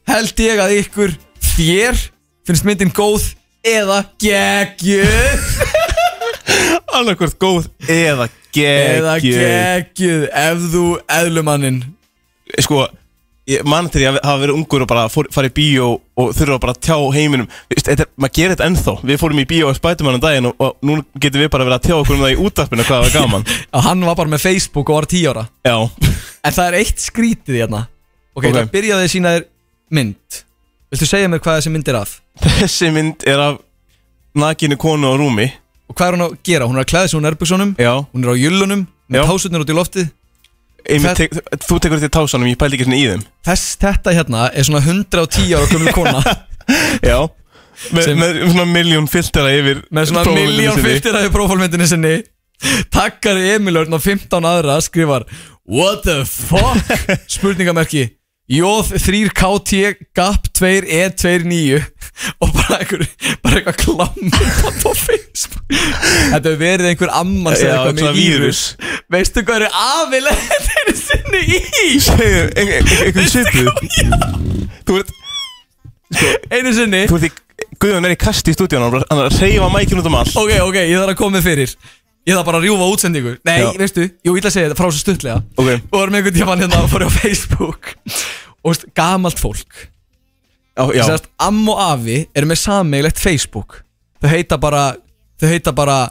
held ég að ykkur þér finnst myndin góð eða geggju Alveg hvort góð Eða eða geggjöð geggju ef þú eðlumannin Sko, ég mann til ég að hafa verið ungur og bara fór, farið í bíó og þurfa bara að tjá heiminum Vist, þetta, er- Maður gerir þetta ennþá Við fórum í bíó og spætum hann um daginn og, og nú getum við bara verið að tjá okkur um það í útarpinu hvað það var gaman að hann var bara með Facebook og var 10 ára Já, en það er eitt skrítið hérna ok, Ok. okay. það byrjaði að sína þér mynd viltu segja mér hvað þessi mynd er af þessi mynd er af nakinu konu á rúmi og hvað er hún að gera, hún er að klæða sig úr nærbuksunum Já, hún er á jullunum Já. með tásutnir út í loftið Emil, Það- tek, þú tekur þetta í tásanum, ég pæli ekki svona í þeim Þess, þetta hérna er svona 110 ára gömul kona Já Með, Sem- með svona miljón filtera yfir með svona prófmyndinni miljón sinni. fylgtir að þið prófálmyndinni sinni takkar Emil Örn og 15 aðra skrifar What the fuck? spurningamerki Jóð 3KT GAP 2E29 og bara einhver bara eitthvað klamma á Facebook Þetta hefur verið einhver amman sem Já, eitthvað með svona vírus vírus. Veistu hvað eru afilegðinni sinni í? Segðu, ein- ein- einhvern svipið Þú ert, Einu sinni þú ert í, Guðjón er í kasti í stúdíun Hann er bara- hann er að reyfa mækinn út um allt Ok, ok, ég þarf að koma með fyrir Ég þarf bara að rjúfa útsendingu Nei, Já. veistu, jú, ég ætla að segja þetta frá svo stuttlega Ok. Og varum einhvern tímann hérna að fara á Facebook Og veist, gamalt fólk Já, já, Sérst, Amm og afi eru með sameigilegt Facebook Þau heita bara Þau heita bara,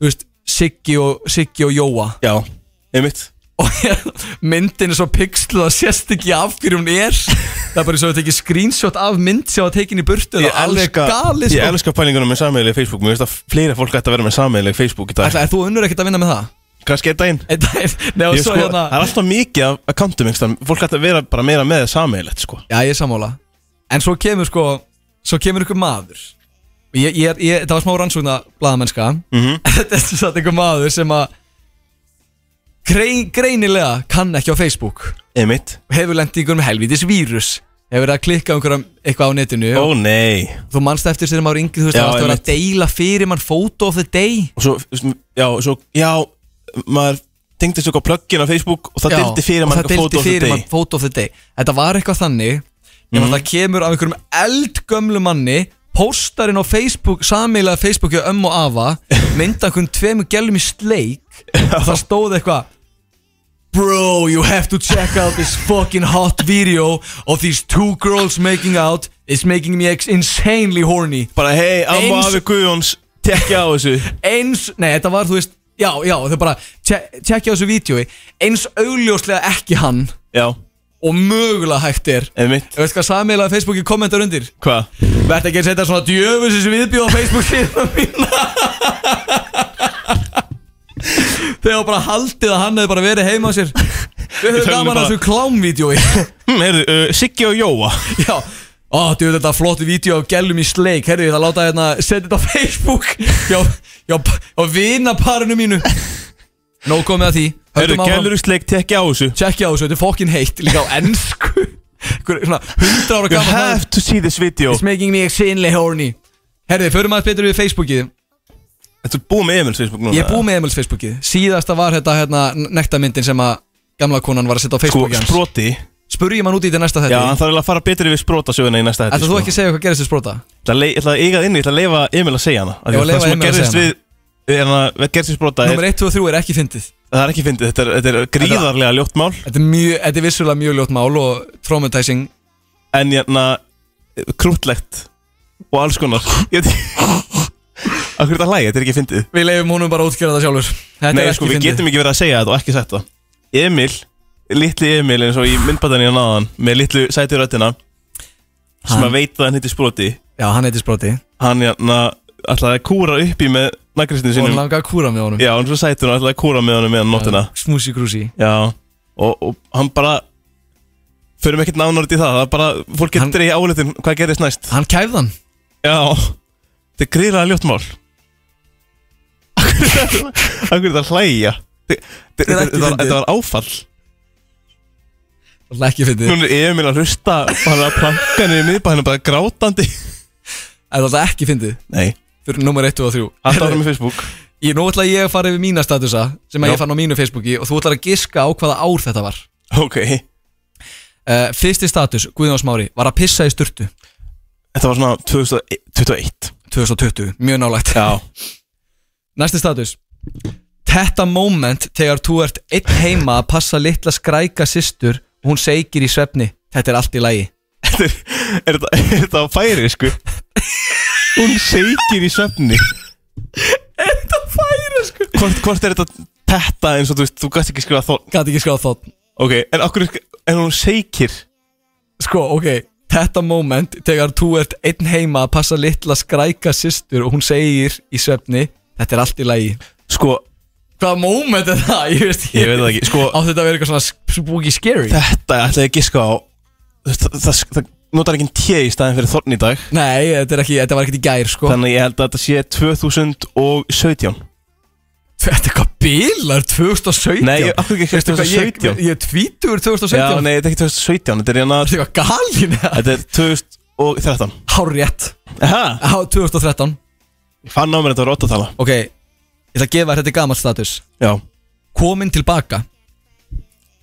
þú veist, Siggi og, Siggi og Jóa já Einmitt Og hérna, myndin er svo pixluð að sérst ekki af hverju hún er Það er bara eins og þau tekið screenshot af mynd sem var tekin í burtu Það Ég er alveg elska, galið ég sko. elska pælingunum með sameigileg Facebook Mér veist að fleira fólk ætti að vera með sameigileg Facebook í dag Ætla, er þú unnur ekkert að vinna með það? Kannski einn daginn Einn daginn- Nei, og Ég svo sko, hérna Það er alltaf mikið af accountum einhvers staðar. Fólk ætti að vera bara meira með sameigilegt sko Já, ég er sammála En svo kemur sko Svo kemur ykkur maður Og ég, ég, er- ég, Það var smá rannsókna blaðamennska Mhm. Þetta er svo satt ykkur maður sem að grein, Greinilega kann ekki á Facebook Einmitt Og hefur lent í ykkur með helvítis vírus Hefur verið að klikka á einhverjum eitthvað á netinu Ó nei og þú manst eftir sér maður yngri, þú veist, Já, það var alltaf verið að deila fyrir mann photo of the day Og svo, já, svo, já Maður tengdi svo plugin á Facebook Og það Já, dildi fyrir og mann það eitthvað deildi photo of the fyrir day Mhm. mann photo of the day Þetta var eitthvað þannig mm. það kemur af einhverjum eldgömlu manni Póstarinn á Facebook, sameilaði Facebooki á ömmu og afa Mynda einhverjum tveimur gælum í sleik Og það stóð eitthvað Bro, you have to check out this fucking hot video Of these two girls making out It's making me ex- insanely horny Bara hei, amma Eins- afi Guðjóns Tekja á þessu eins, nei þetta var þú veist já, já, þau bara tjek- tjekkja á þessu vídjói eins augljóslega ekki hann Já, og mögulega hægt er eða mitt Þú veist hvað samiðlega Facebooki kommentar undir Hvað? Verð ekki að setja svona djöfusins viðbjóð á Facebook síðan mína Þegar bara haldið að hann hefði bara verið heima á sér Við höfum Við tölum gaman að bara- þessu klámvídjói Hm, heyrðu, uh, Siggi og Jóa Já Ó, djú, þetta flottu vídeo af gælum í sleik Herri, ég ætla að láta hérna Setja þetta á Facebook Já, já, já vinaparinu mínu Nó komið að því Herru, Höldum áfram. gælurusleik tekja á þessu Tjekkja á þessu, þetta er fokkin heitt Líka á ennsku Einhver Svona 100 ára You gammal have to see this video It's making me extremely horny Herri, förum aðeins betur við Facebookið Þetta er búið með Emil Facebook núna Ég er búið með Emils Facebookið Síðasta var þetta hérna nektarmyndin sem að Gamla konan var að setja á Sko, Facebookið hans sproti Spurjum hann út í þetta næsta Já, þetta hann þarf sko. eiginlega að fara betur yfir sprotasöguna í næsta Ætla hætti þú ekki að segja hvað gerist þér spróta? Ég ætla að le- ég ætla að eiga það inni, ég ætla að leifa Emil að segja hana Af því Já, að leyfa Það sem að Emil að gerðist segja við hérna, Við gerðist við sprota er, Númer 1, 2 og 3 er ekki fyndið Það er ekki fyndið, þetta er, þetta er gríðarlega ljótt mál Þetta er, mjög, þetta er vissulega mjög ljótt mál og traumatizing En hérna, krútlegt Og alls konar Ég veit Akkur þetta hlæg, þetta er ekki fyndið Við leifum honum bara að útskjöra það sjálfur Þetta Nei, er ekki sko, við fyndið. getum ekki verið að segja þetta og ekki sagt það Emil, litli Emil eins og í myndbætan í náðan Með litlu sæti röddina Sem Hann- að veit að hann hitti sproti Já, hann heitir spróti Hann hérna, ætlaði að kúra upp í með nagristinu Og hann sínum langaði að kúra með honum Já, hann er svo sætur og ætlaði að kúra með honum meðan nóttina Smúsi grúsi Já, og, og hann bara Förum ekkert nánar út í það Það er bara, fólk Hann- getur í áleitin Hvað gerist næst Hann kæfði hann Já, þetta er gríðlega ljótt mál Akkur þetta að hlæja Þetta- er Þetta ekki þetta var- fyndið. þetta var áfall Það er ekki fyndið Nún er Emil að hlusta Hann er að planka niður miðbæ Hann er bara grátandi Það er ekki fyndið Nei, Fyrir númer 1 og 3 alltaf ára með Facebook Ég, nú ætla ég að fara yfir mína statusa Sem að Já. ég fann á mínu Facebooki Og þú ætlar að giska á hvaða ár þetta var Ok, uh, Fyrsti status, Guðjón Smári Var að pissa í sturtu þetta var svona 2021 2020, mjög nálægt Já, Næsti status Þetta moment þegar þú ert einn heima að passa litla skræka systur og hún segir í svefni Þetta er allt í lagi Þetta er, er, þetta- er þetta á færi, sko Hún seikir í svefni Þetta færi sko hvort, hvort er þetta þetta eins og þú veist, þú gæst ekki skrifa þó Gat ekki skráð þátt Ok, en okkur, en hún seikir Sko, ok Þetta moment þegar þú ert einn heima að passa litla skræka systur og hún segir í svefni Þetta er allt í lagi Sko, Hvaða moment er það? Ég veist ég veit það ekki, sko Á þetta að vera eitthvað svona spooky scary Þetta ætla ég að giska á þú veist, Það, það, það notar ekki tje í staðin fyrir þorn í dag Nei, þetta, er ekki, þetta var ekkert í gær sko Þannig að ég held að þetta sé 2017 Þetta er eitthvað bilar 2017 Nei, ég- af hverju ekki Veistu hvað, ég, 2017? ég, ég er tvítur 2017 Já, nei, þetta er ekki 2017, þetta er hérna Þetta er eitthvað galin eða? Þetta er 2013 Hárétt Aha, Há, 2013 ég fann á mér að þetta var 8 tala Ok, ég ætla að gefa þér þetta gammal status Já, Komin tilbaka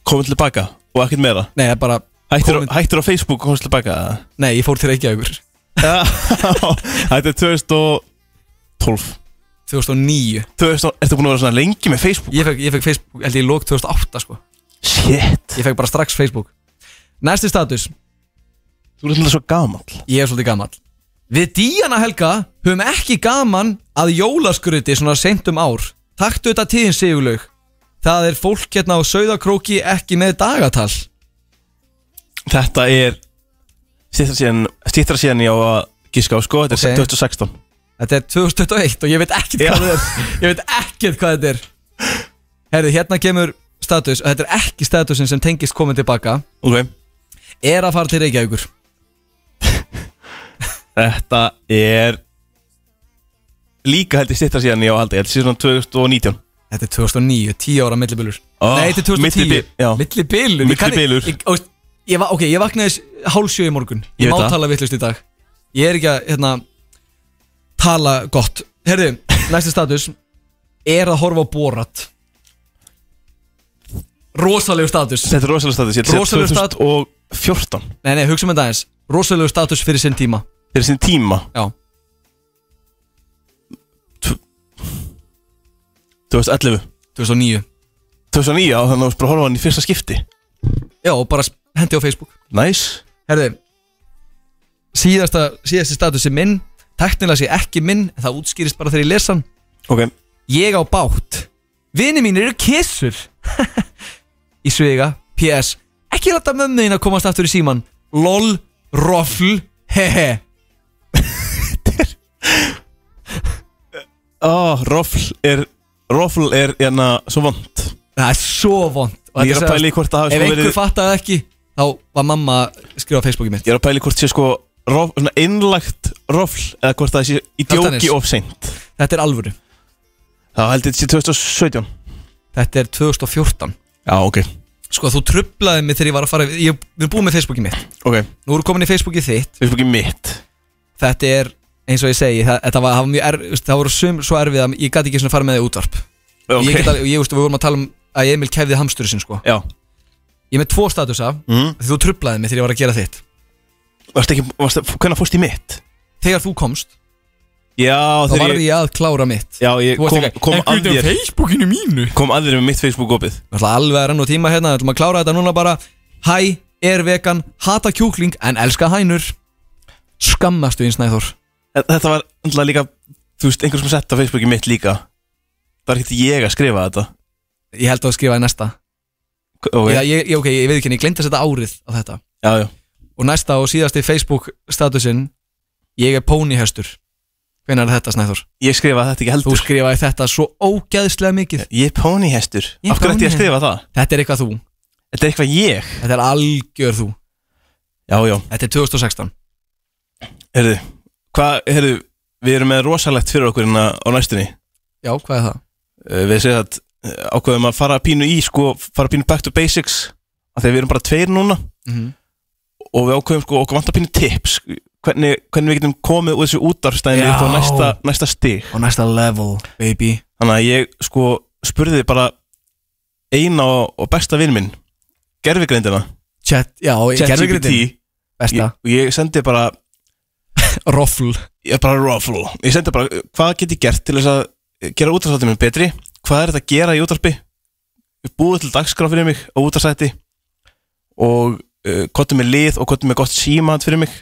komin tilbaka og ekkert meira Nei, það er bara Hættur, komin, hættur á Facebook og komst tilbaka eða? Nei, ég fór til Reykjavíkur Já, Þetta er 2012 2009 2000, Ertu búin að vera svona lengi með Facebook? Ég fekk, ég fekk Facebook, held ég lók 2008 sko Shit Ég fekk bara strax Facebook Næsti status Þú ert alltaf svo gamall Ég er svolítið gammal Við Díana Helga höfum ekki gaman að jólaskruti svona seint um ár Taktu þetta tíðin sigurlaug Það er fólk hérna á Sauðakróki ekki með dagatal Þetta er Stýttra síðan, styttra síðan ég á að gíska á sko Þetta Ok. er 2016 Þetta er 2021 og ég veit ekkert Já. hvað þetta er Ég veit ekkert hvað þetta er Herði, hérna kemur status og Þetta er ekki statusin sem tengist komin tilbaka Ok Er að fara til Reykjavíkur Þetta er Líka held ég stýttra síðan ég á að halda Ég held síðan 2019 Þetta er 2009, 10 ára millibillur Oh, Nei, þetta er 2010 millibil- já. Millibilur Ég kann- Millibilur. Ég, og- ég, va- ok, ég vaknaði s- hálf sjö í morgun Ég, Ég veit má það. tala vittlust í dag Ég er ekki að hérna, tala gott Herðu, næsti status Er að horfa á borat Rosalegu status Þetta er rosalega status, ég ætla að Rosalegur segja stat- 2014 Nei, nei, hugsa um þetta aðeins Rosalegu status fyrir sinn tíma Fyrir sinn tíma Já, 2011 2009 2009 á þannig að þú varst bara að horfa á hann í fyrsta skipti Já, og bara s- hendi á Facebook Næs Herðu Síðasta, síðasti status er minn Teknilega sé ekki minn, en það útskýrist bara þegar ég lesa hann Ok Ég á bát Vini mín eru kissur Í svega PS Ekki láta mömmu þín að komast aftur í síman LOL Roffl Hehe Ó, Roffl Ah, er Roffl er hérna svo vond Það er svo vond Ég er að pæla í hvort það hafi Ef sko einhver verið- fattaði ekki Þá var mamma að skrifa á Facebooki mitt Ég er að pæli hvort sé sko rof, svona Innlagt roffl Eða hvort það sé í Kjartanis. djóki of seint Þetta er alvöru Það held ég þetta sé 2017 Þetta er 2014 Já, ok Sko þú trublaði mig þegar ég var að fara Ég við erum búin með Facebooki mitt Ok Nú erum komin í Facebooki þitt Við fyrir ekki mitt Þetta er eins og ég segi Það, þetta var, það var mjög er, Það voru sum svo erfið að Ég gæti ekki svona fara með þig útvarp Ok Ég get alveg, ég veist, við vorum að tala um að Emil kefði hamsturinn sinn, sko Já Ég er með tvo statusa, mm. þú trublaði mig þegar ég var að gera þitt Varst ekki varst, Hvernig fórst í mitt? Þegar þú komst, Já, þá var þegar ég ég að klára mitt Já, ég Þú varst kom, ekki- kom að guð, þér Facebookinu mínu Ég Kom að þér með mitt Facebook-opið ætla alveg að renna á tíma hérna, við ætlum að klára þetta núna bara Hæ, er vegan, hata kjúkling en elska hænur Skammastu eins næður Þetta var alltaf líka Þú veist, einhver sem sett á Facebooki mitt líka Það var ekkert ég að skrifa þetta Ég held að skrifa í næsta Ok, ég, já, ég, ég, ok, ég veit ekki, en ég glemt að setja árið á þetta já, Og næsta og síðasti Facebook statusinn Ég er pónihestur Hvenær er þetta snæður? Ég skrifaði þetta ekki Þú heldur skrifaði þetta svo ógæðslega mikið Ég er pónihestur Ég er Af hverju ætti ég að ponyhestur. skrifa það? Þetta er eitthvað þú, Þetta er eitthvað ég þetta er algjör þú Já, já, Þetta er 2016 heyrðu Hvað, heyrðu, við erum með rosalegt fyrir okkur hérna á næstunni Já, hvað er það? Uh, Við segja að uh, ákveðum að fara pínu í sko, fara pínu back to basics af því að við erum bara tveir núna Mm Mhm. og við ákveðum sko, okkur vantar pínu tips hvernig, hvernig við getum komið úr þessu útarstæðinni Já. upp á næsta, næsta stig Og næsta level, baby Þannig að ég sko spurði bara eina og, og besta vinn minn gerfigreindina Chat, já, gerðugritin ChatGPT. Ég- Besta, og ég sendi bara roffl ég bara ruffle ég sendi bara uh, hvað get ég gert til þess að uh, gera útarsætti minn betri hvað er þetta að gera í útarpi búið til dagskrá fyrir mig á útarsætti og uh, kottum með lið og kottum með gott símat fyrir mig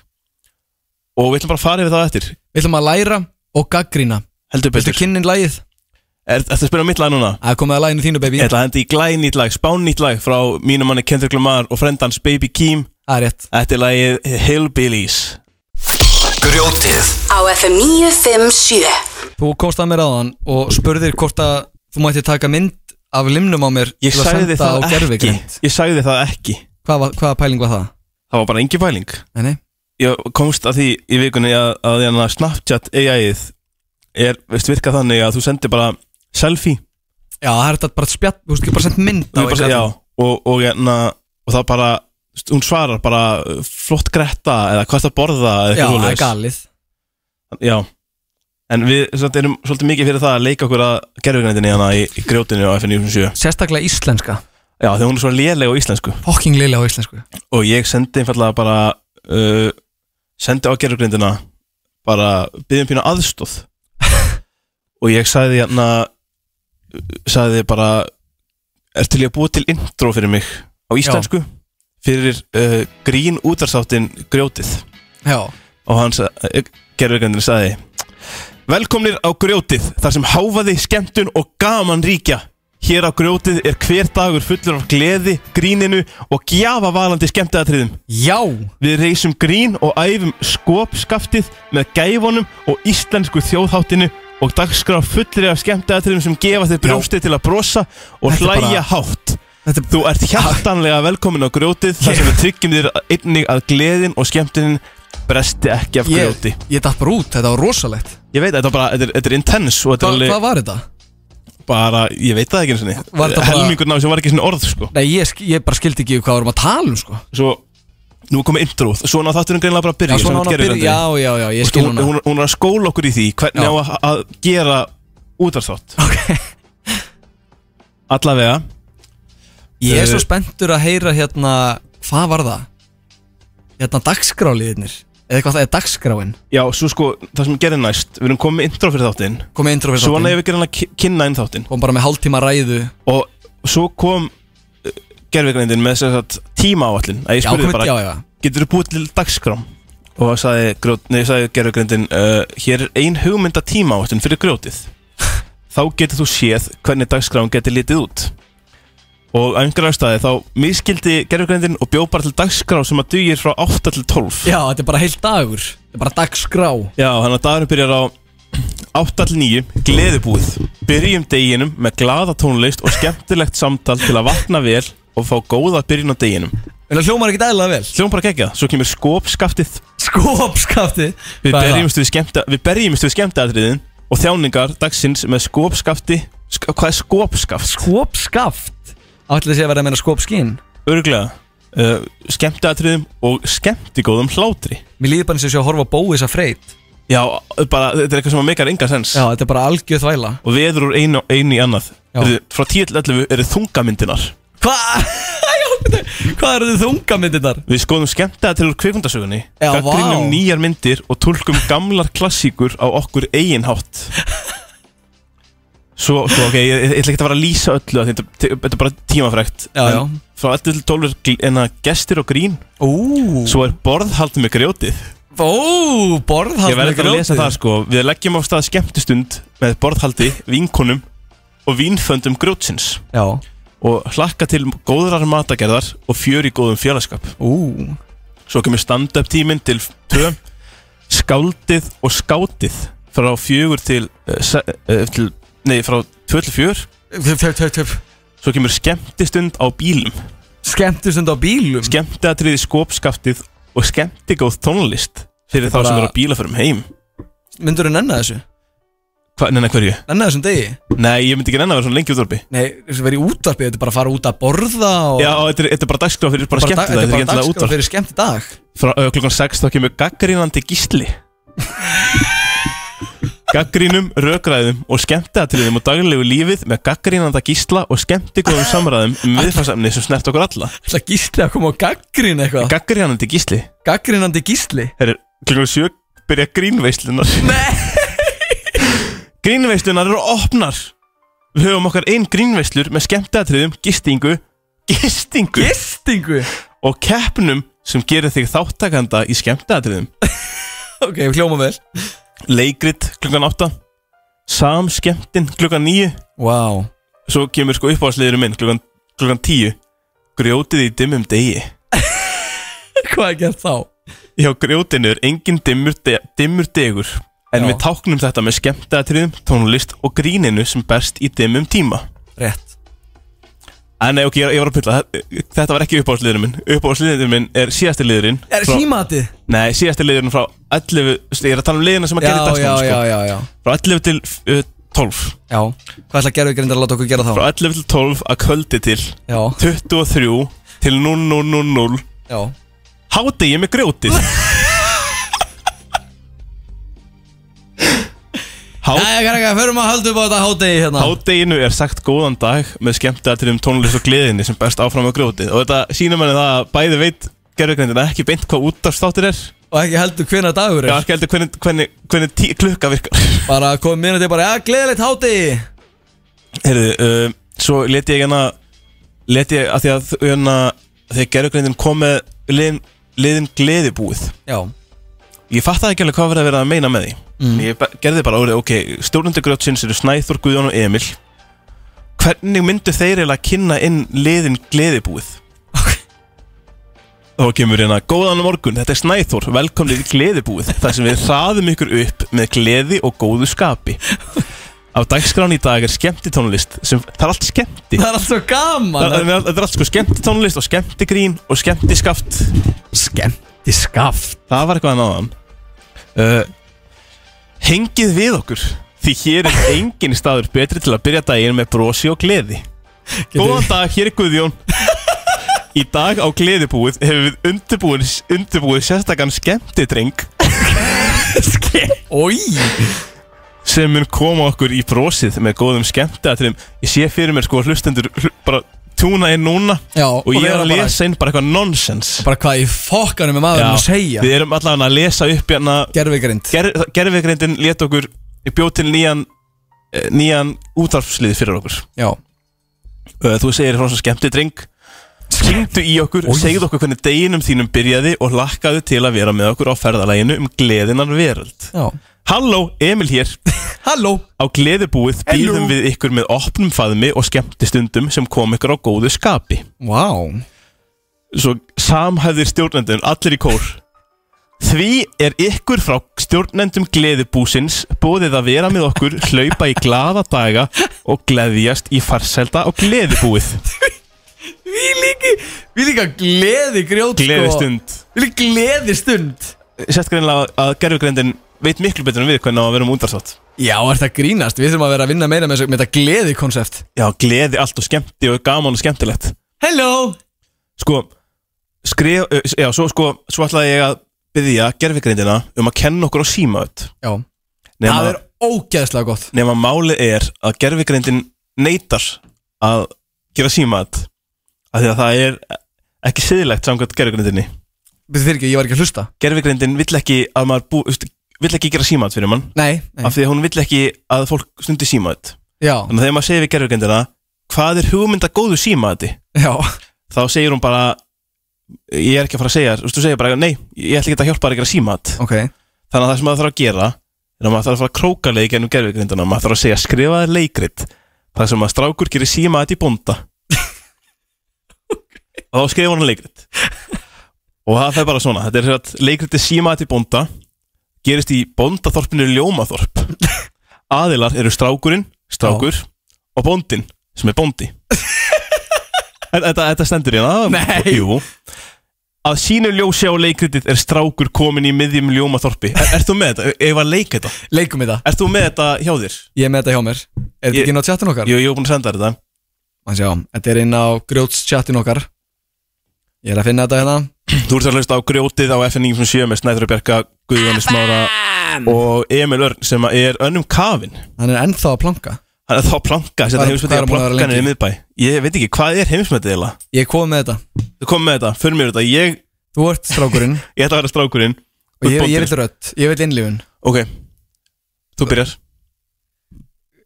og við ætlum bara að fara yfir það eftir Við ætlum að læra og gaggrína heldur Viltu betur kynnin lagið? er þetta að spila mitt lag núna Það er komið að laginu þínu, baby Ég ætla að hendi í glæn nýtt lag, spán nýtt lag frá mínum manni Kendrick Lamar og frendans Baby Keem Það er rétt Þetta er lagið Hillbillies Grjótið Á FM 957 Þú komst að mér aðan og spurðir hvort að þú mætti taka mynd af limnum á mér Ég til að sagði senda á það ekki gervigreind. Ég sagði það ekki Hvað var- Hvaða pæling var það? Það var bara engin pæling Nei, nei Ég komst að því í vikunni að, að, að Snapchat AI-ið er, veist, virka þannig að þú sendir bara selfie Já, það er þetta bara spjall, þú veist ekki bara senda mynd á og, bara, eitthvað. já, og, og, hérna, og það bara veist, hún svarar bara uh, flott gretta eða hvað það borða eða Já, eitthvað það er svoleiðis. galið Já En við svolítið, erum svolítið mikið fyrir það að leika okkur að gerfugrindinni hana í, í grjótinu á FN97 Sérstaklega íslenska Já, þegar hún er svo léleg á íslensku Fucking liðlega á íslensku Og ég sendi einfallega bara uh, Sendi á gerfugrindina Bara byggjum pínu aðstóð Og ég sagði hérna Sagði bara Er til ég að búa til intro fyrir mig Á íslensku Fyrir uh, grín útarsáttin grjótið Já og hann gerðurgrindin sagði Velkomnir á grjótið þar sem háfaði, skemmtun og gaman ríkja Hér á grjótið er hver dagur fullur af gleði, gríninu og gjafavalandi skemmtaðatriðum Já Við reysum grín og æfum skopskaftið með gæfunum og íslensku þjóðháttinu og dagskrá fullri af skemmtaðatriðum sem gefa þér brjóstið til að brosa Þetta og er hlæja bara- hátt Þetta er Þú ert hjartanlega velkomin á grjótið þar sem við tryggjum þér einnig að gleðin og skemmtunin bresti ekki af grjóti Ég, ég datt bara út, þetta var rosalegt Ég veit, þetta er bara, þetta er, þetta er intense og þetta Hva, er alveg Hvað var þetta? bara, ég veit það ekki eins og Var þetta niður bara- Helmingurna á þessu var ekki svona orð, sko Nei, ég, sk- ég bara skildi ekki hvað við vorum að tala um sko Svo Nú er komið introð, svona á þátturinn greinlega bara að Já, byrja svona sem hún þú að gerir, byrja, Andri. já, já, já, ég Þú skil veist, hún, hún hún, hún er að skóla okkur í því Já. hvernig á að, að gera útvarsþátt okay. Allavega Ég er svo Eh, spenntur að heyra hérna Hvað var það? Hérna dagskráliðinir Eða hvað það er dagskráin Já, svo sko, það sem gerði næst Við erum komið með intro fyrir þáttinn Komið intro fyrir Svona þáttinn. ef við greinlega kynna inn þáttinn Kom bara með hálftíma ræðu Og svo kom gerðvigreindin með sem sagt, tíma áallin Að ég Já, spurði komið, bara, já, já getur þú búið til dagskrám? Og sagði, grjót- nei, sagði gerðvigreindin uh, Hér er ein hugmynda tíma áallin fyrir grjótið Þá getur þú séð hvernig dagskrám getur litið út Og á einhverja staði þá miskildi gerðvigreindin og bjó bara til dagskrám sem að dugir frá 8 til 12 Já, þetta er bara heilt dagur Þetta er bara dagskrá Já, þannig að dagurinn byrjar á 8-9, gleðibúið Byrjum deginum með glada tónlist og skemmtilegt samtal til að vakna vel og fá góða byrjun á deginum En það hljómar ekki dæðilega vel Hljóðum bara gegja, svo kemur skópskaftið Skopskafti Við berjumst við, skemmta, við, berjumst við skemmtiatriðin og þjáningar dagsins með skópskafti Sk Hvað er skópskaft? Skopskaft Ætli þessi að vera að meina skopskín Örglega uh, Skemmtiatriðum og skemmtigóðum hlátri Mér líður bara eins og sé að horfa á bóis að freyt Já, bara, þetta er eitthvað sem að meikar enga sens Já, þetta er bara algjöð þvæla Og við erum úr einu, einu í annað Já. Heyrðu, Frá 10-11 eru þungamyndinar Hvað? Hvað eru þið þungamyndirnar? Við skoðum skemmtega til úr kvikmyndasögunni Já, vá. Gagnrýnum nýjar myndir og tólkum gamlar klassíkur á okkur eigin hátt Svo, svo ok, ég, ég ætla ekki að fara að lýsa öllu af því Þetta te- þetta er bara tímafrækt Já, já. En Frá 11 til 12 er gl- en að gestir og grín Ú, Svo er borðhald með grjótið ó, borðhald Ég verð ekki að lesa það sko Við leggjum á stað skemmtistund með borðhaldi, vinkonum og vínföndum grjótsins Já, Og hlakka til góðrar matagerðar og fjör í góðum félagskap ú, Svo kemur stand-up tíminn til 2 Skáldið og skátið Frá fjögur til, eh, se- eh, til Nei, frá 2 til 4 töp, töp, töp, töp Svo kemur skemmtistund á bílum Skemmtustund á bílum Skemmtiatriði skópskaftið Og skemmtigóð tónlist Fyrir Þetta þá er sem bara- eru á bílaferum heim Myndur þú nenna þessu? Hva, Nenna hverju? Nenna þessum degi? Nei, ég myndi ekki nenna að vera svona lengi útvarpi Nei, þessu verið í útvarpi, þetta er bara að fara út að borða og Já, þetta er, þetta er bara dagskrá fyrir bara Bara dag- skemmtið Þetta er ekki bara endilega dagskrá útvarp fyrir skemmt í dag Frá uh, klukkan 6 þá kemur gaggrínandi gísli Gaggrínum, rökræðum og skemmtiatriðum og daglegu lífið með gaggrínanda gísla og skemmtigóðum samræðum um viðfarsefni sem snert okkur alla Það gísli að koma á gaggrín eitthvað Gaggrínandi gísli Gaggrínandi gísli Herri, klukkan 7 byrja grínveislunar Nei Grínveislunar eru opnar Við höfum okkar einn grínveislur með skemmtiatriðum, gistingu Gistingu Gistingu og keppnum sem gerir þig þáttakanda í skemmtiatriðum Ok, við hljóma vel leikrit klukkan 8 samskemmtin klukkan 9 Vá svo kemur sko uppáðsliðurum minn klukkan, klukkan 10 grjótið í dimmum degi Hvað er gert þá? hjá grjótinu er engin dimmur, de dimmur degur en Já. við táknum þetta með skemmtatriðum, tónlist og gríninu sem berst í dimmum tíma Rétt en nei, ok, ég, ég var að pilla Þa- þetta var ekki uppáðsliðurum minn uppáðsliðurum minn er síðasti liðurinn Er frá- símatið? nei, síðasti liðurinn frá 11 ég er að tala um liðina sem að Já, gera já, dagskrána já, sko. já, já frá 11 til uh, 12 Já Hvað ætla gerðugrindar að láta okkur gera þá? frá 11 til 12 að kvöldi til Já, 23 til 0000 já Hádegi með grjótið Há- Jæja, krakka, förum að halda upp á þetta hádegi hérna Hádeginu er sagt góðan dag með skemmtiatriðum tónlist og gleðinni sem berst áfram á grjótið og þetta sýnir manni það að bæði veit gerðugreindina ekki beint hvað útdarstáttir er Og ekki heldur hvenær dagur Já, er ekki heldur hvernig, hvernig, hvernig tí, klukka virkar Bara komið minna til bara, já, gleðilegt hádegi Heyrðu, uh, svo leti ég hérna leti ég að því að hérna, þegar gerðugreindin kom með liðin, liðin gleðibúið Já, Ég fattaði ekki alveg hvað verið að vera að meina með því mm. Ég ba- gerði bara orðið, ok, stjórnundu grjótsins eru Snæþór, Guðjón og Emil Hvernig myndu þeir eiginlega kynna inn liðin gleðibúið? Þá kemur hérna, góðan morgun, þetta er Snæþór, velkomnið í gleðibúið Þar sem við hraðum ykkur upp með gleði og góðu skapi Á dagskrán í dag er skemmtitónlist sem, það er allt skemmti það er allt svo Það gaman það er þetta er allt sko skemmtitónlist og skemmtigrín og skemmtiskaft Skemmti skaft Það var eitthvað náðan uh, Hengið við okkur Því hér er engin staður betri til að byrja daginn með brosi og gleði Góðan dag, hér er Guðjón Í dag á gleðibúið hefur við undirbúið, undirbúið sérstakann skemmtidreng Ói sem mun koma okkur í brosið með góðum skemmtiatrim Ég sé fyrir mér sko hlustendur hl bara tjúna inn núna Já, og ég er vera að bara- lesa inn bara eitthvað nonsens Bara hvað í fokkanum er maður að segja við erum allavega að lesa upp hérna Gervigrind ger, Gerfegreindin let okkur bjóð til nýjan eh, nýjan útvarfslið fyrir okkur Já Eh, Þú segir frá svo skemmtidreng Hringdu í okkur, Oj. segðu okkur hvernig deginum þínum byrjaði og lakkaðu til að vera með okkur á ferðalæginu um gleðinan veröld Já Halló, Emil hér Halló Á gleðibúið býðum Hello. við ykkur með opnum faðmi og skemmtistundum sem kom ykkur á góðu skapi Vá Svo samhæðir stjórnendun allir í kór Því er ykkur frá stjórnendum gleðibúsins bóðið að vera með okkur, hlaupa í glaða daga og gleðjast í farselda og gleðibúið Sko, Við líka Við líka gleði grjót sko. Gleðistund Við líka gleði stund Sett greinlega að gerfugrendin veit miklu betur en við hvernig á að vera um útarstátt Já, er þetta grínast Við þurfum að vera að vinna meira með, þessu- með þetta gleði konsept Já, gleði allt og skemmti og gaman og skemmtilegt Hello Sko, skrif, ö, já, svo sko, svo ætlaði ég að byggja gerfugrendina um að kenna okkur á símaut Já Nema- Það er ógeðslega gott nema málið er að gerfigreindin neytar að gera símat af því að það er ekki siðilegt samkvæmt gerfigreindinni Við fyrir ekki, ég var ekki að hlusta gerfigreindin vill ekki að maður bú, veist, vill ekki gera símat fyrir mann Nei, nei. af því að hún vill ekki að fólk stundi símat Já, þannig að þegar maður segir við gerfigreindina hvað er hugmynda góðu símati já þá segir hún bara ég er ekki að fara að segja, þú veist, þú segir bara nei, ég ætla ekki að hjálpa þér að gera símat Ok þannig að það sem maður þarf að gera er að maður þarf að fara að króka leik ennum gerfugrindana maður þarf að segja skrifaði leikrit þar sem að strákur gerir síma þetta í bónda og þá skrifa hann leikrit og það er bara svona þetta er að leikriti síma þetta í bónda gerist í bóndaþorpinu ljómaþorp aðilar eru strákurinn strákur og bóndin sem er bóndi þetta, þetta- þetta stendur hérna Nei. Jú að sínu ljósi á leikritið er strákur komin í miðjum ljómaþorpi er, Ert þú með þetta? Ef að leika þetta Leikum við það Ert þú með þetta hjá þér? Ég er með þetta hjá mér Er þetta Ég- ekki inn á tjattin okkar? Jú, ég er búin að senda þér þetta Man sjá, þetta er inn á grjóts tjattin okkar Ég er að finna þetta hérna Þú ert að hlusta á grjótið á FN957 með Snæður Bjarka, Guðjóni Smára og Emil Örn sem er önnum kafin Hann er ennþá að planka Hann er þá planka, þetta Hvað- hvað heimsmetið er að búin að vera plankan er í lengi? miðbæ Ég veit ekki, hvað er heimsmetið eiginlega? Ég kom með þetta Þú kom með þetta, fyrir mér þetta Ég, Þú ert strákurinn ég ætla að vera strákurinn Og ég, ég Bóndin. vil rödd Ég vil innlifun Ok, þú byrjar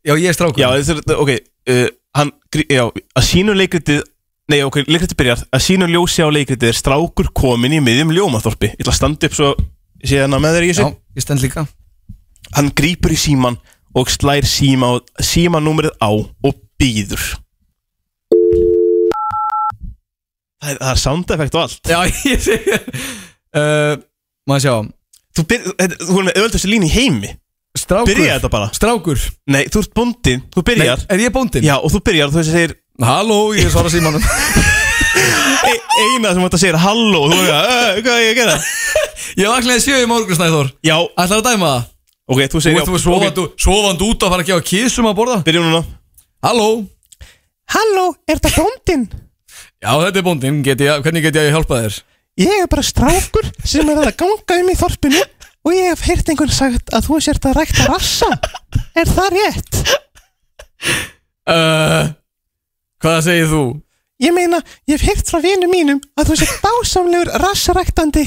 Já, ég er Já, strákurinn þetta er, ok uh, hann, grí- já, að sínu leikritið Nei, ok, leikritið byrjar Að sínu ljósi á leikritið er strákur komin í miðjum ljómaþorpi Ég ætla að standa upp svo síðan að með þér í þessu ég stend líka Hann grípur í síman og slær síma símanúmerið á og býður Það er, það er sound effect og allt Já, ég sé uh, Man sjá Þú, byr, þetta, þú erum með öðvöldustu línu í heimi Strákur Byrja þetta bara Strákur Nei, þú ert bóndin, þú Nei, byrjar Er ég bóndin? Já, og þú byrjar, þú segir Halló, ég svara símanum e, Eina sem þetta segir halló og Þú er að, "Eh, hvað er ég að gera? Ég vaknaði sjö í morgun, Snæþór Já, Ætlar að dæma það? Ok, þú Þú segir ert þú svovandi svovand út að fara að gefa kísum að borða? Byrjum núna Halló? Halló, er það bóndinn? Já, þetta er bóndin, get ég, hvernig get ég að hjálpa þér? Ég er bara strákur sem er að ganga um í þorpinu og ég hef heyrt einhvern sagt að þú sért að rækta rassa Er það rétt? Uh, hvað segir þú? Ég meina, ég hef heyrt frá vinum mínum að þú sért dásamlegur rassaræktandi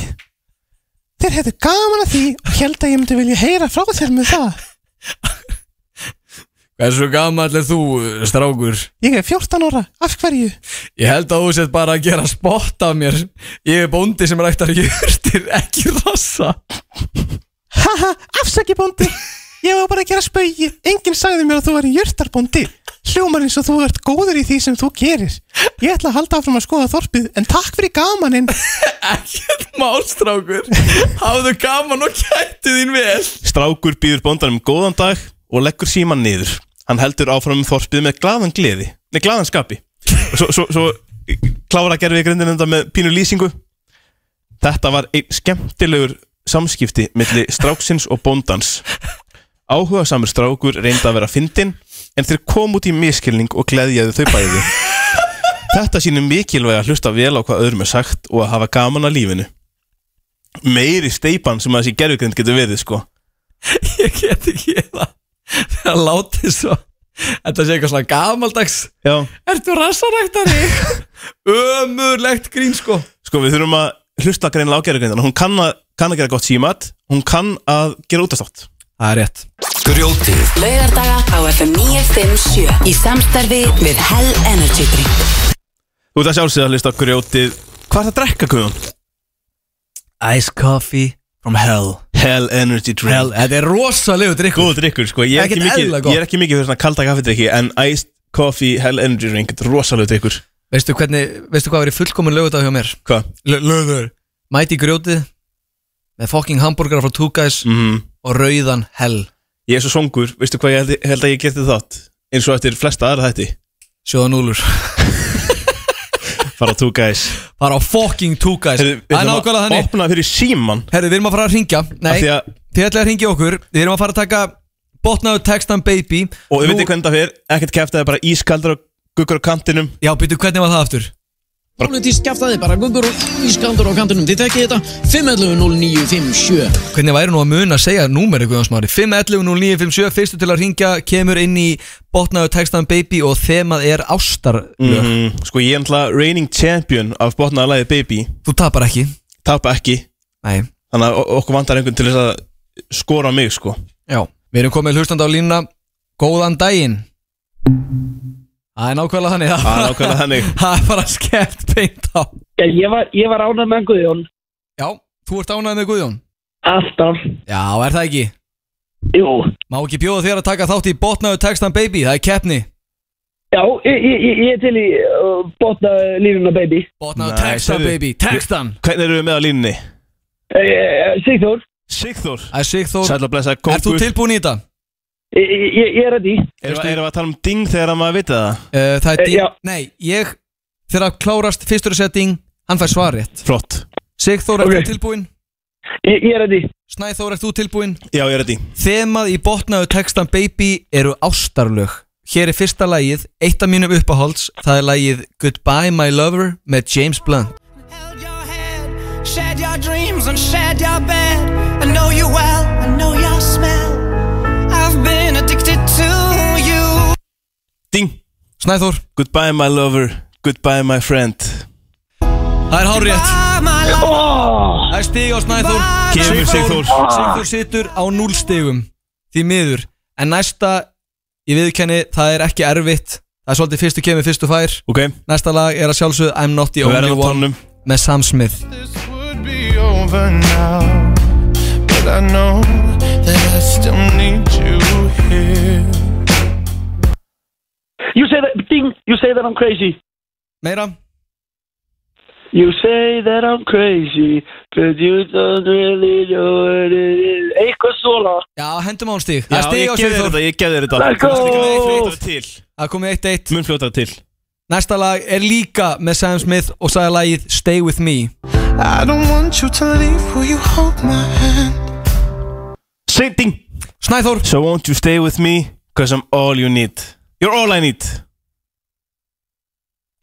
Þeir hefðu gaman að því og held að ég myndi vilja heyra frá þér með það Hversu gamall er þú, strákur? Ég er 14 ára, af hverju? Ég held að þú sett bara að gera spott af mér Ég er bóndi sem ræktar jörtir, ekki rassa Haha, afsaki bóndi Ég var bara að gera spaugi Enginn sagði mér að þú væri jörtarbóndi Hljómar eins og þú ert góður í því sem þú gerir Ég ætla að halda áfram að skoða þorpið En takk fyrir gamaninn Ekkert málstrákur Hafðu gaman og kættu þín vel Strákur býður bóndanum góðan dag og leggur síman niður. Hann heldur áfram um þorpið með glaðan gleði, nei glaðan skapi. Og svo, svo, svo klára gerði grindin þetta með pínu lýsingu. Þetta var einn skemmtilegur samskipti milli stráksins og bóndans. Áhuga samur strákur reyndi að vera fyndinn en þeir kom út í miskilning og gleðjaði þau bæði. Þetta sýnir mikilvæg að hlusta vel á hvað öðrum er sagt og að hafa gaman að lífinu Meiri steipan sem að þessi gerfugrind getur verið sko Ég get ekki það Það láti svo Þetta sé eitthvað svona gamaldags Já, Ertu rassaræktari? Ömurlegt grín sko sko við þurfum að hlusta greinlega á gerfugrindina Hún kann að, kann að gera gott símat, hún kann að gera útastátt Það er rétt Grjótið Laugardaga á FM 957 Í samstarfi við Hell Energy Drink Þú ert að sjálfsögða að hlusta á grjótið Hvað er það að drekka kuðun? Ice coffee from hell Hell Energy Drink Hell, þetta er rosalegu drikkur Góð drikkur sko, ég er ekki, Ekkert mikið, eðlilega gott. ég er ekki mikið fyrir svona kalda kaffidrykki En Iced Coffee Hell Energy Drink, þetta er rosalega drikkur Veistu hvernig, veistu hvað verið fullkomin lögudag hjá mér? Hvað? Lögur Mæti í grjótið Með fucking hamburgara frá Two Guys Mm. Og rauðan hell Ég er svo songur, veistu hvað ég held, ég held að ég geti þátt Eins og eftir flesta aðra þætti Sjóðan úlur Fara tú guys Bara á fucking Two Guys Heyrðu, Það er nákvæmlega þannig Opna fyrir síman Herri, við erum að fara að ringja Nei, Af því að- þið ætlaði að ringja okkur Við erum að fara að taka botnaðu textan baby Og við Nú- veitum hvernig það fyrir Ekkert kæft að það er bara ískaldur og guggur á kantinum Já, byrju, hvernig var það aftur? Pólitísk kjaftaði bara guggur og ískandur á kantunum. Þið tekkið þetta 511-0957. Hvernig væri nú að muna að segja númer eitthvað smári 511-0957, fyrstu til að ringja Kemur inn í botnaðu textan baby Og þemað er ástarlög mm, Sko ég er náttúrulega reigning champion Af botnaða lagið Baby Þú tapar ekki Tapa ekki Nei, Þannig að o- okkur vantar einhvern til þess að skora á mig sko já Við erum komið hlustandi á línuna Góðan daginn Það er nákvæmlega þannig Það er það- ákveðlega þannig Það er bara skellt beint á Já, ég var, ég var ánað með Guðjón, Já, þú ert ánægð með Guðjón alltaf, Já, er það ekki? jú, Má ekki bjóða þér að taka þátt í botnaðu textan baby, það er keppni já, ég, ég, ég- ég er til í uh, botna línuna baby, Botnaðu Nei, textan heyrðu. baby, textan Hvernig eru við með á línni? uh, Sigþór, Sigþór Það er Sigþór, Sætla blessa er þú kókur tilbúin í þetta? ég, ég, ég er að því, Erum við erum við að tala um ding þegar að maður vita það? Uh, það er Eh, ding, já. nei, ég Þegar að klárast fyrstur setting Hann fær svar rétt Flott Sigþór, ert Ok. þú tilbúin? ég, ég er að því, Snæþór, ert þú tilbúin? Já ég er þetta í Þemað í botnaðu textan Baby eru ástarlög Hér er fyrsta lagið, eitt af mínum uppáhalds Það er lagið Goodbye My Lover með James Blunt held your head, shared your dreams and shared your bed. I know you well, I know your smell. I've been addicted to you. Ding Snæþór, Goodbye my lover Goodbye my friend það er hár rétt By my Oh. love, Það er stig á Snæþór by Kemur Sigþór Sigþór situr á núl stigum Því miður En næsta, ég viðkenni, það er ekki erfitt Það er svolítið fyrstu kemur, fyrstu fær Ok, Næsta lag er að sjálfsögðu I'm not the við only verðum um- á one tónum með Sam Smith This would be over now, but I know that I still need you here. you say that, ding, you say that I'm crazy, Meira? you say that I'm crazy, but you don't really know what it is, eitthvað svona, Já, hendum á hann stig Já, Það er stig ég á gef þér Sigþór þetta, ég gef þér þetta Let's go! Fljótara til, Það er komið 1-1 mun fljótara til Næsta lag er líka með Sam Smith og sagði lagið Stay With Me I don't want you to leave, will you hold my hand? Sending Snæþór So won't you stay with me, cause I'm all you need You're all I need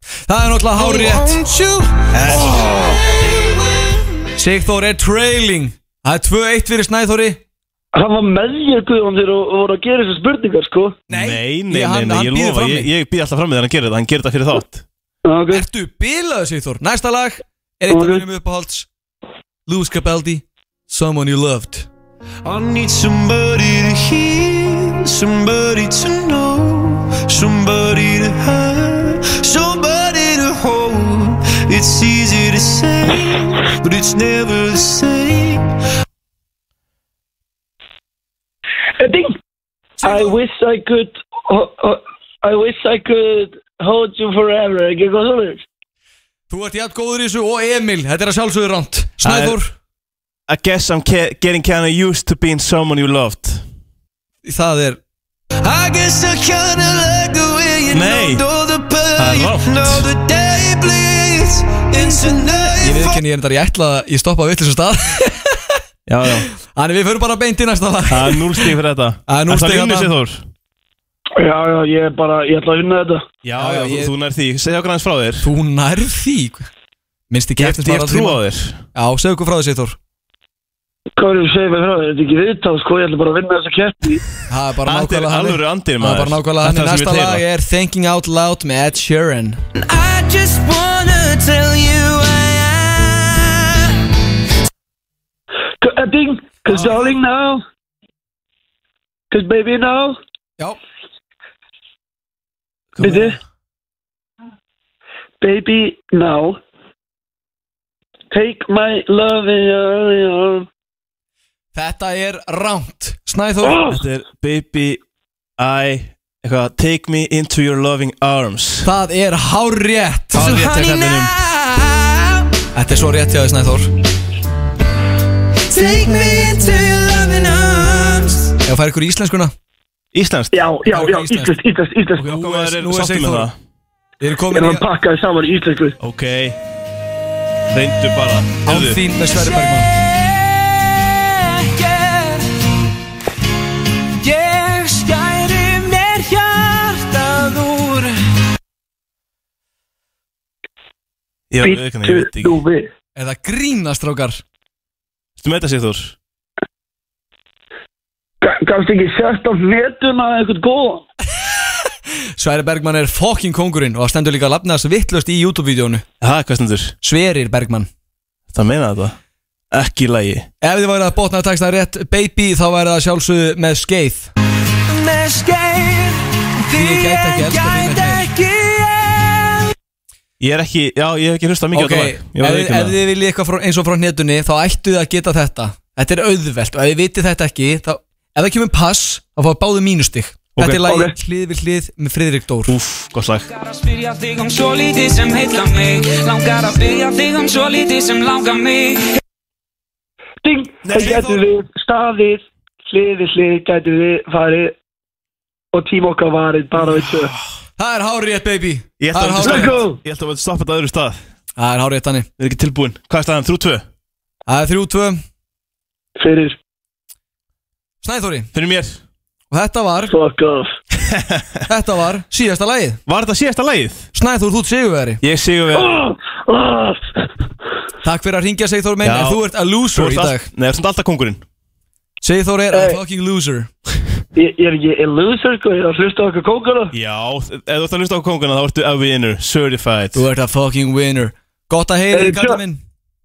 Það er náttúrulega hárið rétt Oh, Won't you? Sigþór er trailing Það er 2-1 fyrir Snæþóri hann var með þér Guðjón þegar og voru að gera þessu spurningar, sko, Nei, nei, nei, hann, nei, hann ég býður lofa, fram ég, ég býð alltaf fram með hann að gera þetta, hann gerir þetta fyrir þátt Já, ok, Ertu bilaðu Sigþór Næsta lag er eitt af mínum uppáhalds Louis Capaldi Someone You Loved I need somebody to hear, somebody to know, somebody to have, somebody to hold. It's easy to say, but it's never the same. Eh, ding, I wish I could, ho- ho- I wish I could hold you forever, ekki eitthvað svona, Þú ert jafn góður í þessu og Emil Þetta er að sjálfsögðu ránt Snæþór I guess I'm ca- getting kinda used to being someone you loved Það er I guess I kinda like the way you Nei. know the Það er pain rangt. Know the day bleeds into night Ég viðkenni ég endar, ég ætla að ég stoppa við þessum stað Já, já, Þannig við förum bara beint í næsta lag það er núl stík fyrir þetta Það er núll stig þarna þarna. Sigþór Já, já, ég er bara, ég ætla að vinna þetta Já, Já, já, ég- þú nær því, segja okkur aðeins frá þér Þú nærð því Minnst ekki Ég hef- eftir ég hef trú á þér Já, segðu okkur frá þessi Þór Hvað er þú segir mig frá þér? Þetta er ekki viðtal, sko, ég ætla bara að vinna þessa keppni Það er bara Þetta er nákvæmlega alvöru andir Það er maður bara nákvæmlega Þetta þannig Næsta er það sem ég lag tegla er Thinking Out Loud með Ed Sheeran I just wanna tell you I am. I think, cause darling now Cause baby now Já Byrðu Baby now Take my love in your arm Þetta er rámt Snæþór Þetta er Baby I eitthvað, Take me into your loving arms Það er hár rétt Það er rétt hjá kallinum. Now, Þetta er svo rétt hjá því Snæþór take me into your loving arms. Ég fær ykkur í íslenskuna Íslenskt Já, já, já, Íslenskt. íslenskt, íslenskt, Ok, íslenskt Ég Nú Hvað er- er nú er sáttum með Sigþór. það? Við erum er komin í hann pakkaði saman í íslensku Ok Reyndu bara Án Heyrðu, þín með Sverri Bergman Yeah, yeah. Ég skæri mér hjartað úr. Ég verð að viðurkenna, ég veit Býttu ekki nú við Er það grínastrákar? Þú með þetta Sigþór Gafst ekki sett á netuna eitthvað góðan Sverri Bergman er fokking kongurinn og það stendur líka að lafna þessu vittlust í YouTube-vídeónu Ha, hvað stendur? Sverir Bergman Það meina þetta Ekki í lagi Ef þið væri að botna að texta rétt baby þá væri það sjálfsögðu með skeið Með skeið. Því Ég gæti ekki ég elskað þín gæti meir. ekki ég. Ég er ekki, já, ég hef ekki hlustað mikið Ok, á ef, þetta lag Ég verð að ef viðurkenna það þið viljið eitthvað frá, eins og frá hnetunni þá ættu þið að geta þetta Þetta er auðvelt og ef þið vitið þetta ekki þá, ef það kemur pass þá fá báðu mínustig Ok, Þetta er lagi ok. hlið við hlið með Friðrik Dór Úff, gott slag Langar að spyrja þig um svolítið sem heilla mig Langar að spyrja þig um svolítið sem langar mig Ding, það getur við staðið hliði hlið getur við farið og tíma okkar varið bara við tvö Ah. Það er hárið baby Ég Það ætla er að hárrétt. stoppa- Let's go. ég ætla að stoppa þetta á öðru stað Það er hárið þannig Við erum ekki tilbúin Hvað er staðan? 3-2 Það er þrjú tvö fyrir Snæþóri Fyrir mér og þetta var, fuck off þetta var síðasta lagið Var þetta síðasta lagið? Snæþór, þú ert sigurveri Ég sigur við Ah, ah. Takk fyrir að ringja Sigþór minn Já. en þú ert a loser í dag Nei, það er alltaf kongurinn Sigþór er a Hey. fucking loser Ég ég er ekki a loser, sko, ég er að hlusta á okkar kókana Já, ef þú ert að hlusta á kongurinn þá ertu að vinur Certified Þú ert a fucking winner Gott að heyra Hey, þig, kallar Tjo- minn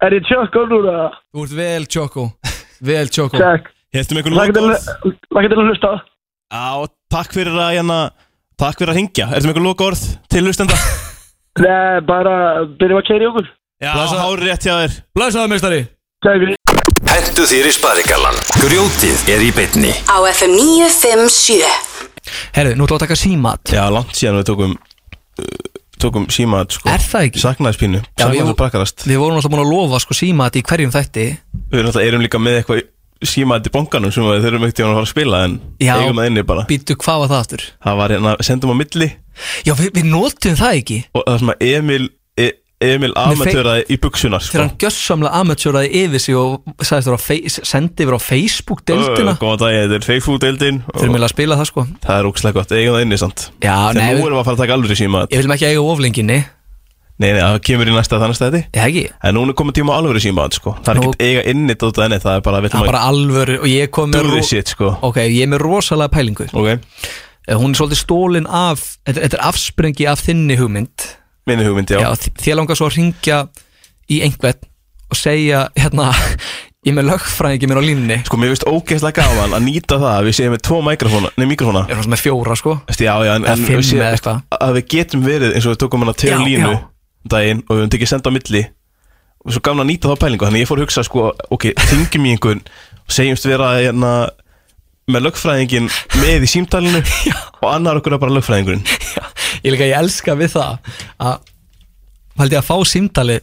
Er ég tjökk á núna? Þú ert vel tjókó Vel tjókó Takk, Hértum einhvern lakka til um lokaorð? að- lakka til að hlusta Já, takk fyrir að hérna Takk fyrir að ringja Ertum einhvern lokaorð til hlustenda? Nei, bara byrjum að kæri okkur Já, hárið rétt hjá þér Blæsaðu meistari Takk fyrir Hentu þér í sparigallan Grjótið er í beinni Á FM 957 Herru, nú ætlum við að taka símat Já, langt síðan við tókum uh, Tókum símat, sko Er það ekki? Saknaðis pínu Já, við- Saknaðis brakkarast Við vorum alltaf búin að lofa sko símat í hverjum þætti Við erum alltaf erum líka með eitthvað símat í bonganum sem við þurfum ekkert í að fara að spila en Já. eigum að inni bara Býttu hvað var það aftur? Það var hérna, sendum á milli Já, við, við nótum það ekki og það sem að Emil e, Emil fei- amatöraði í buksunar Þegar sko. hann gjössamlega amateuraði yfir sig og sagðist þér að sendi yfir á Facebook-deildina Ö, Góðan dag, þetta er Facebook-deildin og Fyrir mig að spila það sko það er ógslag gott, eigum það inni samt Já, nei, Þegar nú við- erum við að fara að taka alvöru símat Ég vil ekki eiga oflenginni Ég Nei, nei, það kemur í næsta þannig stæði ekki En núna er komið tíma á alvöru símat sko. Það er Nú- ekkert eiga inni dótað enni Það er bara, við Það er ætlum að bara alvöru og ég kom með do ro- this shit sko. Ok, ég er með rosalega pælingu Ok, Eh, Hún er svolítið stólin af Þetta, þetta er afsprengi af þinni hugmynd minni hugmynd, já, Já, þi- þér langar svo að ringja í einhvern og segja hérna, ég er með lögfræðingi mér á línni Sko, mér finnst ógeðslega gaman að nýta það að við séum með tvo mikrofóna, nei, mikrofóna Ég er svona með fjóra sko Veist, Já, já, en, Eða en fimm við séum- eða eitthvað. að við getum verið eins og við tókum hana til Já, línu já. daginn og við höfum tekið senda á milli og svo gaman að nýta þá pælingu þannig ég fór að hugsa sko, ok, þingjum í einhvern og segjumst vera hérna, með lögfræðingin með í símtalinu og annar okkur er bara lögfræðingurinn Ég líka, ég elska við það að held ég að fá símdali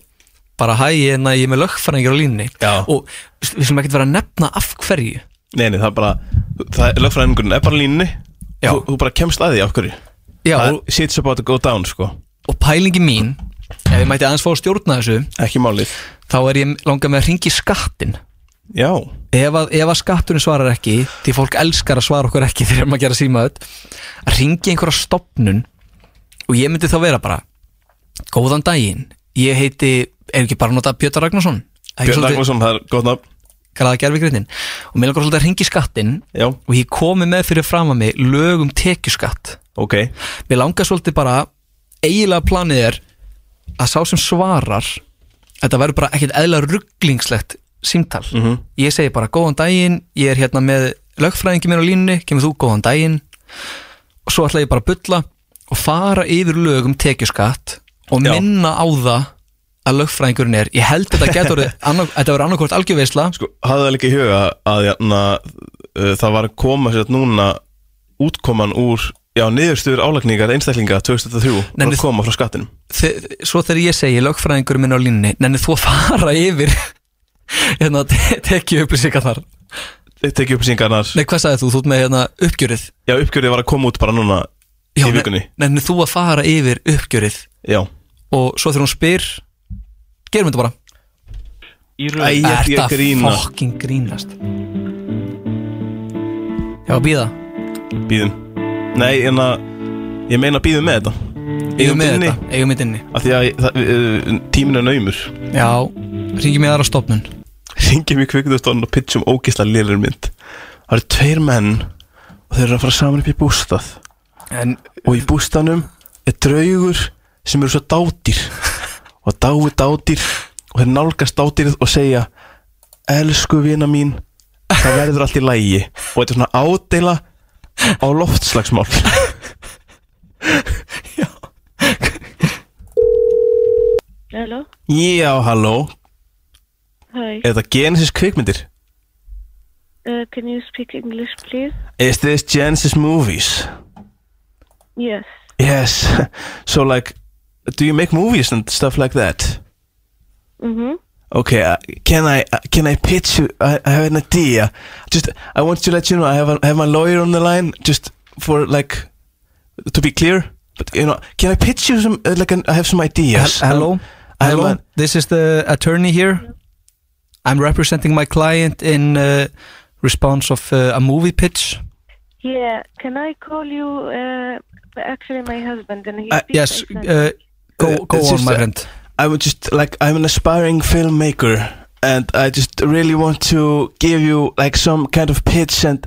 bara hæ, hérna, ég er með lögfræðingi á línni Já. og við við sem ekkert vera að nefna af hverju Nei, nei, það er bara, það er, lögfræðingurinn er bara á línunni Já. þú, þú bara kemst að því af hverju Já, Það og, er- Shit's about to go down, sko og pælingi mín ef ég mætti aðeins fá að stjórna þessu Ekki málið þá er ég langað með að ringi skattin Já, ef að, ef að skatturinn svarar ekki því fólk elskar að svara okkur ekki þegar maður gera símaðut að ringi einhverja stopnun og ég myndi þá vera bara góðan daginn, ég heiti er ekki bara að nota Björn Ragnarsson Ekki Björn svolítið- Ragnarsson, það er gott nafn kalaða gerfigreitin og mér langar svolítið að ringi skattinn Já, og ég komi með fyrir fram að mig lögum tekjuskatt ok mér langar svolítið bara eiginlega planið er að sá sem svarar þetta verður bara ekkert eðla rugglingslegt símtal Mhm. -hmm. ég segi bara góðan daginn ég er hérna með lögfræðingi mér á línni kemur þú góðan daginn og svo ætla ég bara að bulla og fara yfir lögum tekjuskatt og Já. minna á það að lögfræðingurinn er, ég held þetta getur annað, þetta verður annarkvort algjörveisla Sko, hafði það líka í huga að jæna, uh, það var að koma sér núna útkoman úr já, niðurstöður álagningar einstaklinga 2003 Nei, var við- að koma frá skattinum Þe- svo þegar ég segi lögfræðingur minn á línni nenni þú að fara yfir hérna te tekju upplýsingar þar nei tekið upplýsingarnar, hvað sagði þú, þú ert með hérna uppgjörið já uppgjörið var að koma út bara núna í ne- vikunni, nenni þú að fara yfir uppgjörið já og svo þegar hún spyr gerum þetta bara Æ, ég er ekki að grína, fucking grínast já býða býðum Nei, en að, ég meina býðum með þetta eigum Eigum við inni, þetta, eigum við inni af því að það, uh, tíminn er naumur já, ringi mig aðra stofnun ringjum í kvikmyndastofan og pitchum ógisla liður mynd það eru tveir menn og þeir eru að fara saman upp í bústað en og í bústanum er draugur sem eru svo dátýr og dái dátýr og þeir nálgast dátýrið og segja elsku vina mín það verður allt í lægi og þetta er svona ádeila á loftslagsmál Halló, Já, halló hi. Er þetta Genesis kvikmyndir? Uh, can you speak English, please? Is this Genesis movies? Yes. Yes, so like do you make movies and stuff like that? Mm-hmm. Okay, uh, can I uh, can I pitch you? I, I have an idea. Just I want to let you know I have a, I have my lawyer on the line just for like to be clear. But you know, can I pitch you some uh, like an, I have some ideas? Hel- hello? I have Hello, an- this is the attorney here. I'm representing my client in uh, response of uh, a movie pitch. Yeah, can I call you, uh, actually my husband, and he Uh, speaks Yes, Icelandic. uh, go Uh, go it's on, just my a- friend. I would just like I'm an aspiring filmmaker, and I just really want to give you like some kind of pitch and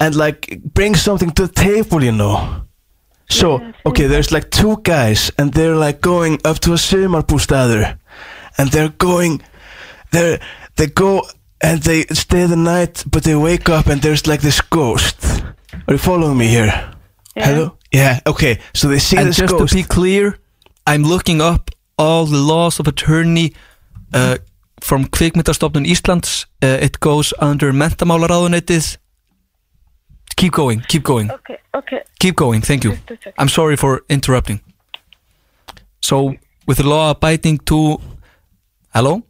and like bring something to the table, you know. So Yeah, sure. okay, there's like two guys, and they're like going up to a sumarbústaður, and they're going, they they go and they stay the night, but they wake up and there's like this ghost. Are you following me here? Hello. Yeah. Okay. So they see And this just ghost. to be clear, I'm looking up all the laws of attorney uh, from Kvikmyndastofnun Íslands. Uh, it goes under mentamálaráðunetið. Keep going, keep going. Okay, okay. Keep going, thank you. Just a second. I'm sorry for interrupting. So, with the law abiding to... Hello?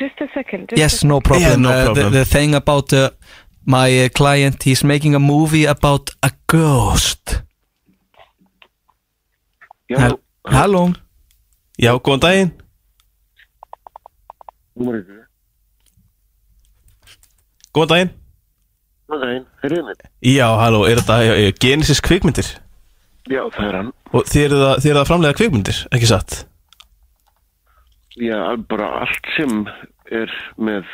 Just a second. Just Yes, no problem. Yeah, no Uh, problem. the, the thing about uh, my uh, client, he's making a movie about a ghost. Hel- Hello? Já, góðan daginn. Númer ykkur. Góðan daginn. Hvað er einn? Heyrðu mig? Já, halló, er þetta já, já, Genesis kvikmyndir? Já, það er hann. Og þið eru það, þið eru það að framlega kvikmyndir, ekki satt? Já, bara allt sem er með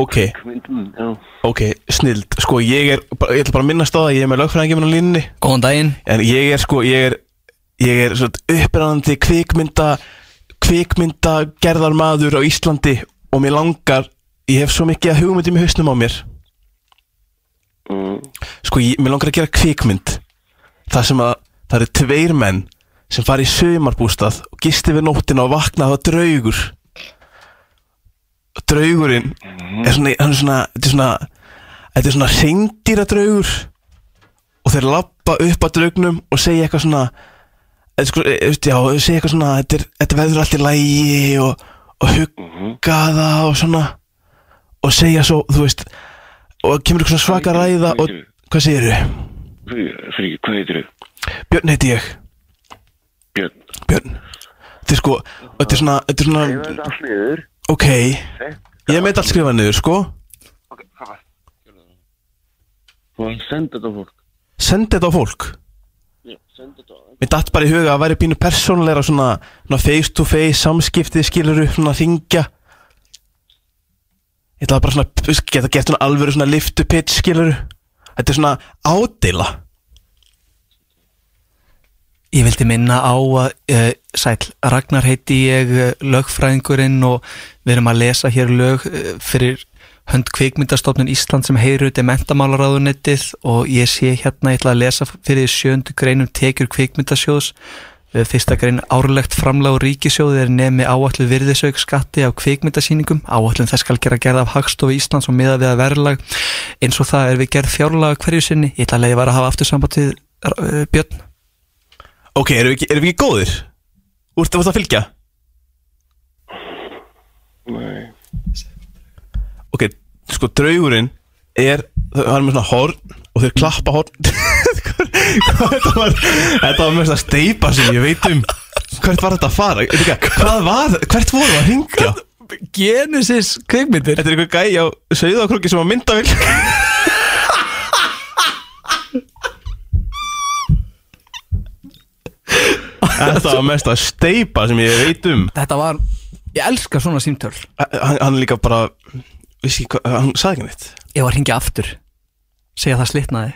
Ok, myndum, já. ok, snild Sko, ég er, bara- ég ætla bara að minnast á það að Ég er með lögfræðingjum á línni Góðan daginn. En ég er sko, ég er Ég er svona uppræðandi kvikmynda Kvikmynda gerðarmadur á Íslandi Og mér langar Ég hef svo mikið að hugmyndum í hausnum á mér Mm. Sko, ég, mér langar að gera kvikmynd Það sem að það eru tveir menn sem fara í sömarbústað og gisti við nóttina og vakna það draugur og draugurinn er svona, hann er svona þetta er svona, þetta er svona reyndýra draugur og þeir lappa upp að draugnum og segja eitthvað svona eða sko, e, veist, já, segja eitthvað svona þetta, er, þetta verður allt í lægi og, og Mhm. hugga það og svona og segja svo, þú veist og kemur eitthvað svona svaka ræða og hvað segir þau? Fyrir, hvað heitir þau? Björn heiti ég Björn. Björn Þetta er sko, þetta er svona, þetta er Ég veit svona allt niður. Ok, ég meit allt skrifa niður, sko Þú hefði sendið þetta á fólk. Sendi þetta á fólk Já, sendið þetta á það. Mér datt bara í huga að væri pínu persónulegra svona, svona face to face samskipti skilur upp svona hringja Ég ætlaði bara svona veist, geta gert svona alvöru svona lift to pitch skilur Þetta er svona ádela Ég vildi minna á að uh, Sæll, Ragnar heiti ég uh, lögfræðingurinn og við erum að lesa hér lög uh, fyrir hönd kvikmyndastofnun Ísland sem heyrir út í mentamálaráðunettið og ég sé hérna, ég ætla að lesa fyrir sjöndu greinum tekjur kvikmyndasjóðs Uh, Fyrsta grein árlegt framlag úr ríkisjóði er nemi áallu virðisauk skatti af kvikmyndasýningum. Áallun þess skal gera gerð af Hagstofu Íslands og miða við að verðlag eins og það er við gerð fjárlaga hverju sinni. Ég ætla að leiði var að hafa aftur sambatið uh, Björn. Ok, erum við ekki, erum við ekki góðir? Úr þetta að fylgja? Nei. Ok, sko draugurinn er, það er með svona horn og þeir klappa horn Hvað þetta var, þetta var með svona steipa sem ég veit um Hvert var þetta að fara? Ég veit ekki, Hvað var, hvert voru að hringja? Genesis kvikmyndir Þetta er einhver gæi á Sauðakrúki sem á myndavill Þetta var mest að steipa sem ég veit um Þetta var, ég elska svona símtöl Hann, hann líka bara, vissi ekki hvað, hann sagði ekki neitt Ég var að hringja aftur Segja það slitnaði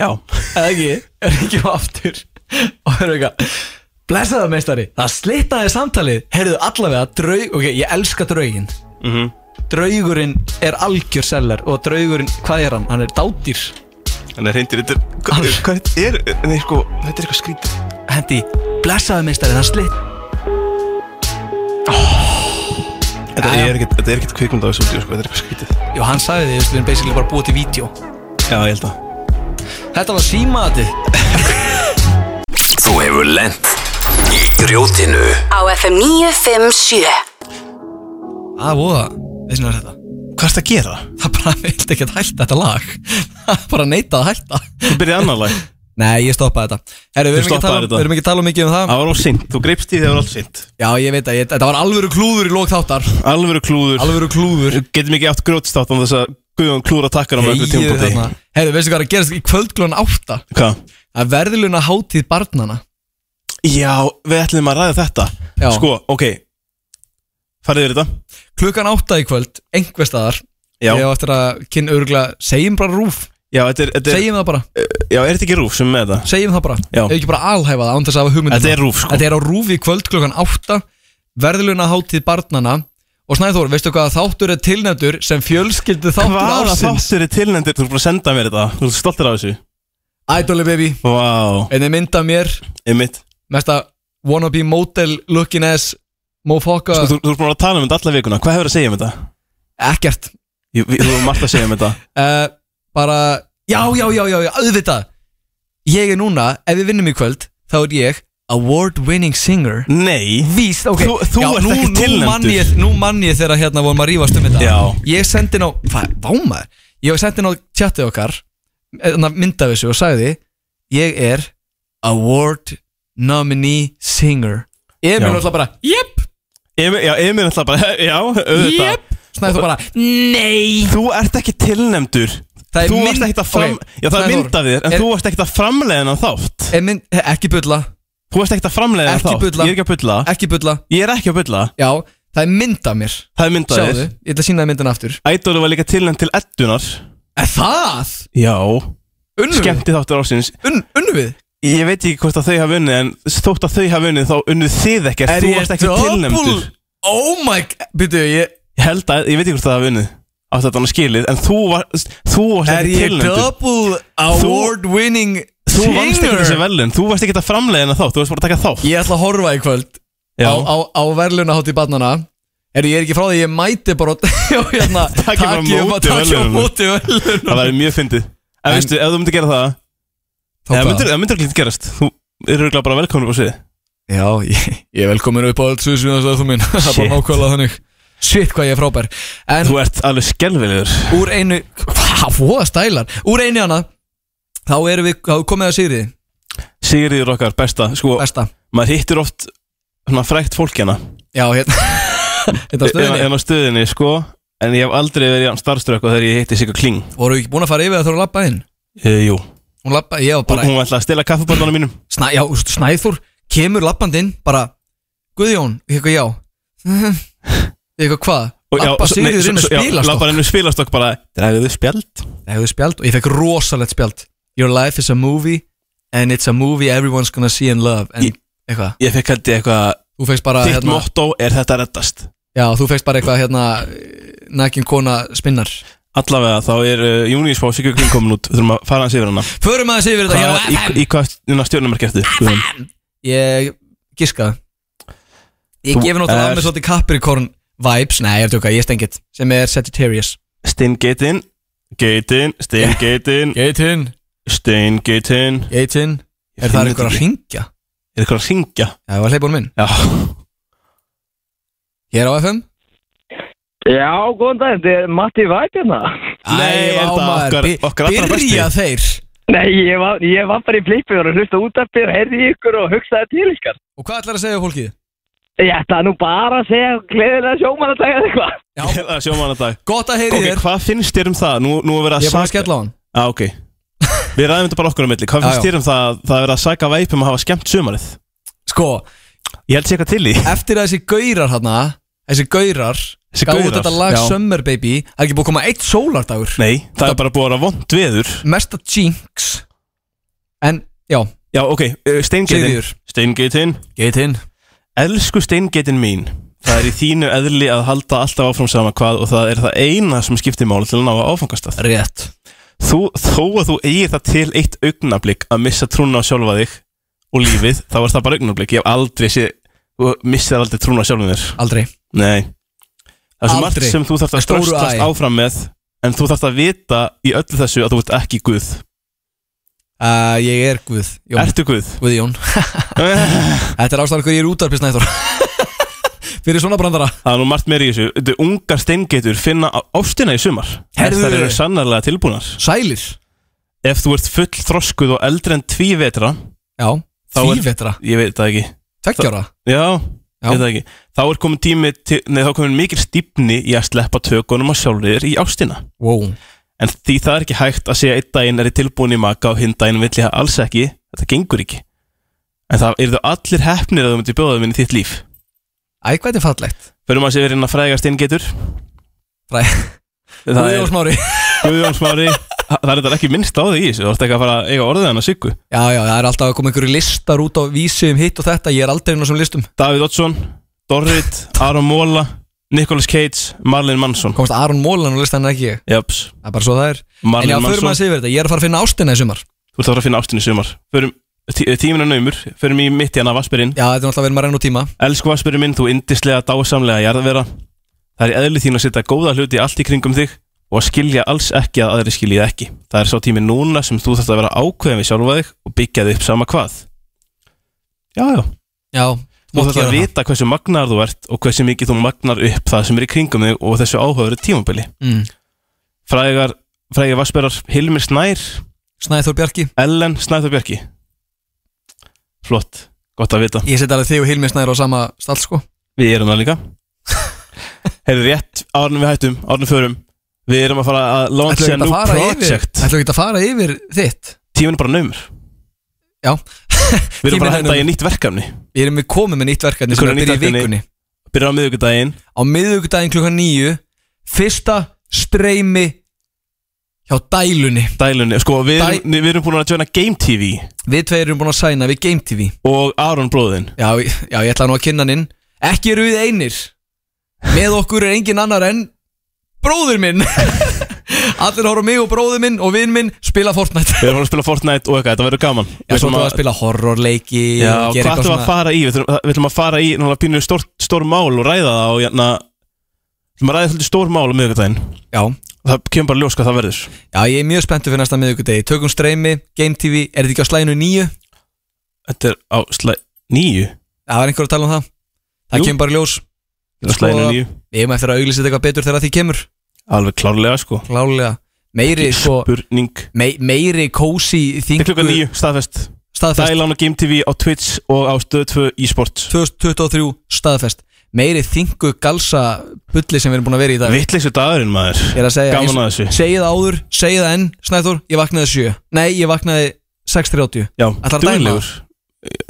Já, Eða ekki, er ekki aftur Og það er eitthvað Blessaðu meistari, það slitnaði samtalið Heyrðu allavega, draug, ok, ég elska draugin Mhm. Draugurinn er algjör seller Og draugurinn, hvað er hann? Hann er dádýr hann er reyndir Þetta er, hvað- hvað þetta er, nei sko, þetta er eitthvað skrítið Hendi, blessaðu meistari, það slit Þetta er ekkert, þetta er ekkert kvikmynd á þessu útjú, sko, þetta er eitthvað skrítið Jú, hann sagði því, við erum basically bara búið til vídeo Já, ég held að Þetta var símaðið Þú hefur lent í grjótinu Á FM 957 Það er voða, þess vegna er þetta Hvað er þetta að gera? Það bara vildi ekki að hætta þetta lag Það bara neitaði að hætta Þú byrjaði annar lag Nei, ég stoppaði þetta Herru, við erum ekki Þú að stoppaði tala, þetta? við erum ekki að tala mikið um það Það var alveg sýnt, þú greipst í þegar það var allt sýnt Já, ég veit að ég, þetta var alvöru klúður í lók þáttar Alvöru klúður Alvöru klúður Við getum ekki átt grjótstátt án þess að Guðjón klúra takkar á mörgum Þegiðu þarna. tímpóti Herru, veistu hvað er að gerast í kvöldglón átta Hvað? Að verðiluna hátíð barnana Já, við ætlum að ræða þetta Já. Sko, ok Farið yfir þetta Klukkan átta í kvöld, einhver staðar Já, Ég á eftir að kynna örgla Segjum bara rúf, já, þetta er, þetta er segjum það bara Já, er þetta ekki rúf sem er með þetta? Segjum það bara, Já. ef ekki bara alhæfa það Án þess að hafa um hugmyndina Þetta er RÚV, sko. Þetta er á rúf í kvöld klukkan 8 Verðluna hátíð barnana Og Snæþór, veistu hvað þáttur er tilnefndur Sem fjölskyldu þáttur Hvaða ársins þáttur er tilnendir? Þú er búin að senda mér þetta Þú er stoltur af þessu Idoli baby, Vá, einnig mynda mér einmitt Mesta wannabe model looking ass Mofoka, Sko, þú, þú er búin að tala um þetta alla vikuna Hvað hefur að segja um þetta? ekkert Ég- við- Þú er margt að segja um þetta uh, Bara, já, já, já, já, já, auðvitað Ég er núna, ef við vinnum í kvöld Þá er ég award winning singer Nei Víst, ok Þú- þú ert nú, ekki tilnefndur. nú mann ég, nú mann ég þegar hérna vorum að rífast um þetta Já. Ég sendi ná, hvað, vámaður Ég sendi ná tjatið okkar Myndað þessu og sagði Ég er award nominee singer Emil Já. náttúrulega bara, jep, Emil, já, Emil ætla bara, já, auðvitað jep Snæður þú bara, nei Þú ert ekki tilnefndur Það er Þú mynd- ert ekki að fram Ok, Já, það er Snæþór, mynd af þér En er- þú ert ekki að framleiða hennan þátt Er mynd- Ekki bulla, Þú ert ekki að framleiða hennan Ekki þátt bulla. Ég er ekki að bulla ekki bulla Ég er ekki að bulla Já, það er mynd af mér Það er mynd af Sjáðu, þér ég ætla að sína það myndin aftur Ædólu var líka tilnefnd til eddunar Er það? Já Unnum við? Skemmti þáttur ásins Unn- Unnum við? Ég veit ekki hvort að þau hafa unnið En þótt að þau hafa unnið Þá unnuð þið ekkert Þú ert ekki tilnefndur double- Oh my god, byrju, ég Ég held að, ég veit ekki hvort það hafa unnið Átt þetta hann skilið En þú var, þú varst Er ekki ég tilnefndur double award winning Þú vannst ekki þessi singer? velun Þú varst ekki að framleiða hennan þátt Þú varst bara að taka þátt Ég ætla að horfa í kvöld á, á, á verðluna hátt í barnana Er ég er ekki frá því ég mæti bara og- og hérna Taki bara taki um- móti taki á verðlaununum. móti verðlunum Það væri mjög fyndið En En- veistu, ef þú myndir gera það Þá eða hvað? myndir- Það myndir ekki gerast Þú eru örugglega bara velkomnur á svið Já, ég, ég er velkomin upp á allt svo sem þú minn Það er Shit. bara nákvæmlega þannig Shit hvað ég er frábær En Þú ert alveg skelvilegur úr einu Hvað, hvað stælar? Úr einu hana Þá erum við, þá er komið að sigriði Sigriður okkar, besta Sko, Besta maður hittir oft svona frækt fólk hérna Já, hérna Þetta á stöðinni? En á stöðinni, sko En ég hef aldrei verið án starfströkk og þegar ég hitti Sigga Kling Voru ekki búin að fara yfir það þegar þú lappaði inn? e, Jú Hún lappaði, ég var Eh, bara Hún ætlaði að stela kaffibóllunum mínum Snæ, Já, þú veist, Snæþór kemur lappandi inn bara Guðjón, eitthvað já Eitthvað hvað? Lappa Sigriður inn að spila sko?" Lappa inn með spilastokk bara Dræfiðu spjald Dræfiðu spjald og ég fekk rosalegt spjald Your life is a movie and it's a movie everyone's gonna see and love and eitthvað Ég fekk held ég eitthvað Þú fegst bara Þitt hérna, motto er þetta reddast Já, þú fegst bara eitthvað hérna Nækin kona spinnar Allavega þá er uh, Júniusfá Sigga Kling komin út Við þurfum að fara hans yfir hana Förum aðeins yfir þetta Hvað- hér á FM Í, í hvað stjórnumarki eftir FM Ég giska Ég Þú gefi náttúrulega ert- af mig svolítið Capricorn vibes Nei, ég er tjóka, ég er stengið Sem er Sagittarius Steingeitin Geitin Steingeitin Geitin Steingeitin Geitin Er það einhver að ringja? Er eitthvað að ringja? Já, það var hleypunum minn Já Hér á FM Já, góðan dag, þetta er Matti Væk hérna. Nei, er það okkar- okkar allra Byrja besti? þeir Nei, ég var, ég var bara í flippi og var að hlusta út af fyrir, heyrði í ykkur og hugsaði til ykkar. Og hvað ætlar að segja fólki? Ég ætla nú bara að segja gleðilega sjóman að taka eitthvað. Það er sjómanandag Gott að heyri um Ok, þér hvað finnst þér um það? Nú, nú er verið að Ég er búin að saka- skella á hann Já, ok Við ræðum þetta bara okkur á milli Hvað Já, finnst já. þér um það að það er verið að sæka væpum að hafa skemmt sumarið? Sko, Ég held sé eitthvað til í eftir að þessi gaurar hana Þessi gaurar Þessi gáðu gaurar, þetta lag já. Summer Baby Það er ekki búið að koma eitt sólardagur Nei, það er bara búið að vera vond veður Mesta jinx En, já, Já, ok, uh, steingeitin Sigríður. Steingeitin geitin Elsku steingeitin mín Það er í þínu eðli að halda alltaf áfram sama hvað og það er það eina sem skiptir máli til að ná að áfangastað Rétt þú, Þó að þú eigir það til eitt augnablík að missa trúna á sjálfa þig og lífið, þá er það bara augnablík Ég hef aldrei séð, þú missir aldrei trúna á sjálfum þér Aldrei Nei Það er svo margt Aldrei. sem þú þarft að Stóru æ. ströstast áfram með En þú þarft að vita í öllu þessu að þú ert ekki Guð uh, Ég er Guð Jón. Ertu Guð? Guð Jón Þetta er ástæðan hverju ég er útarpist nættur Fyrir svona brandara Það er nú margt meira í þessu Þetta er ungar steingeitur finna á- ástina í sumar Herðu. Þær eru sannarlega tilbúnar Sælir Ef þú ert full þroskuð og eldri en tví vetra Já Þá er- Tvívetra Ég veit það ekki Tveggjára Já, Já. ég veit það ekki Þá er komin tími til, Nei, þá er komin mikil stífni í að sleppa tökunum á sjálfriðir í ástina Wow En því það er ekki hægt að segja einn daginn er ég tilbúin í maka og hinn daginn vill ég það alls ekki, þetta gengur ekki. En það eru þau allir hefnir að þau myndir bjóða þeim inn í þitt líf. Æ, hvað þetta er fallegt Förum að sé verið inn að frægast inn getur. Fræ Það Guð Jón er Smári Guðjón Smári. Það er þetta ekki minnst á því í þessu, þú ert ekki að fara að eiga orðið hann að siggu. Já, já, það er alltaf að koma einhverju listar út á vísi um hitt og þetta Ég er aldrei inn á svona listum Davíð Oddsson, Dorrit, Aron Móla, Nicholas Cates, Marlin Mansson. Komast Aron Mólan og listan en ekki ég Japs, Það er bara svo það er En já, Marlin förum Mansson. að segja þetta Ég er að fara að finna ástina í sumar Þú ert að fara að finna ástinni sumar. Förum, tí, tíminu naumur, förum í mitt í hana Vassberinn. Já, þetta er náttúrulega verið maður enn og tíma Elsku Vassbyrjum minn, þú indislega, dásamlega jarðvera. Það er eðli þín að setja góða hluti allt í kringum þig og að skilja alls ekki að aðri skiljið ekki. Það er sá tími núna sem þú þarft að vera ákveðin við sjálfa þig og byggja þig upp sama hvað. Já, já. Já, Þú þarft að það vita hversu magnar þú ert og hversu mikið þú magnar upp það sem er í kringum þig og þessu áhugaveru tímabili. mm. Frægar, frægar Vassbyrjar, Hilmir Snær, Snæþór Bjarki Ellen Snæður Björki. Flott, gott að vita. Ég seti alveg þig og Hilmi Snæður á sama stall sko Við erum það líka Heyrðu rétt, árnum við hættum, árnum förum Við erum að fara að Ætlum launcha við ekki nú að fara yfir project Ætlum við ekki að fara yfir þitt Tíminn er bara naumur Já Við erum Tíminn bara að er henda í naumur. nýtt verkefni Við erum við komið með nýtt verkefni Við sem er að komum með byrja í nýtt verkefni. vikunni Byrjar á miðvikudaginn Á miðugdæðin klukkan nýju Fyrsta streymi Hjá dælunni Dælunni, sko við erum, við erum búin að tjóna Game TV Við tveir erum búin að sæna við Game TV Og Aron bróðinn Já, ég- já ég ætla nú að kynna hann inn Ekki eru við einir Með okkur er engin annar en Bróður minn Allir horfa á mig og bróður minn og vinn minn Spila Fortnite Við erum að fara að spila Fortnite og eitthvað, þetta verður gaman Já, svo ætlum þú að spila horrorleiki Já, og hvað gera ætlum eitthvað við að svona- fara í? Við þurfum- Við ætlum að fara í náttúrulega pínu stór, stór mál og ræða það og jæna Við ætlum að ræða svolítið stór mál á miðvikudaginn Já, Það kemur bara ljós hvað það verður Já, ég er mjög spenntur fyrir næsta miðugudegi Tökum streymi, Game TV, er þetta ekki á slæðinu nýju? Þetta er á slæ... Nýju? Já, Það er einhver að tala um það Það Jú. kemur bara í ljós Þetta er á Sko- slæðinu nýju Við erum eftir að auglýsa þetta eitthvað betur þegar að því kemur Alveg klárlega sko Klálega Meiri, sko, Spurning mei, meiri kósi Til þingu klukkan nýju, staðfest Staðfest Dælan og Game TV á Twitch og á Stöð 2 eSports 2023 staðfest meiri þingu galsa bulli sem við erum búin að vera í í dag Vittleysu dagurinn maður Ég er að segja Gaman að eins- þessu Segið það áður, segið það enn, Snæþór, ég vaknaði 7 Nei, ég vaknaði 6.30 Já, Ætlar að dæma? duglegur.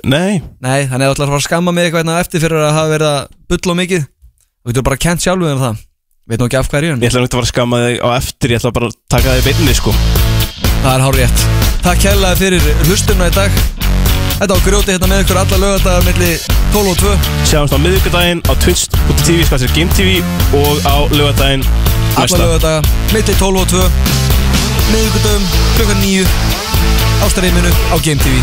Nei Nei, þannig að þú ætlar að fara að skamma mig eitthvað hérna á eftir fyrir að hafa verið að bulla of mikið Þú getur bara kent sjálfur um það Veit nú ekki af hverju en Ég ætla nú ekki að fara að skama þig á eftir Ég ætla bara að taka þig í beinni sko Það er hár rétt Takk kærlega fyrir hlustunna í dag Þetta á grjóti hérna með ykkur alla lögadagar milli 12 og 2 Sjáumst á miðvikudaginn á twitch.tv Skvæsir GameTV Og á lögadaginn Alla lögadaga milli 12 og 2 Miðvikudagum klukkan 9 Á streyminu á Game TV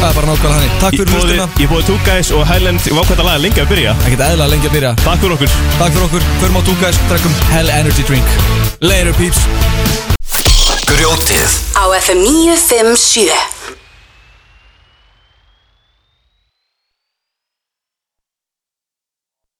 Það er bara nákvæmlega hannig Takk fyrir hlustunna Ég bóði Two Guys og Highland Ég vákvæmt að laga lengi að byrja Ekkert eðla lengi að byrja Takk fyrir okkur Takk fyrir okkur Förum á Tukas Drakkum Hell Energy Drink Later peeps Grjótið Á FM 957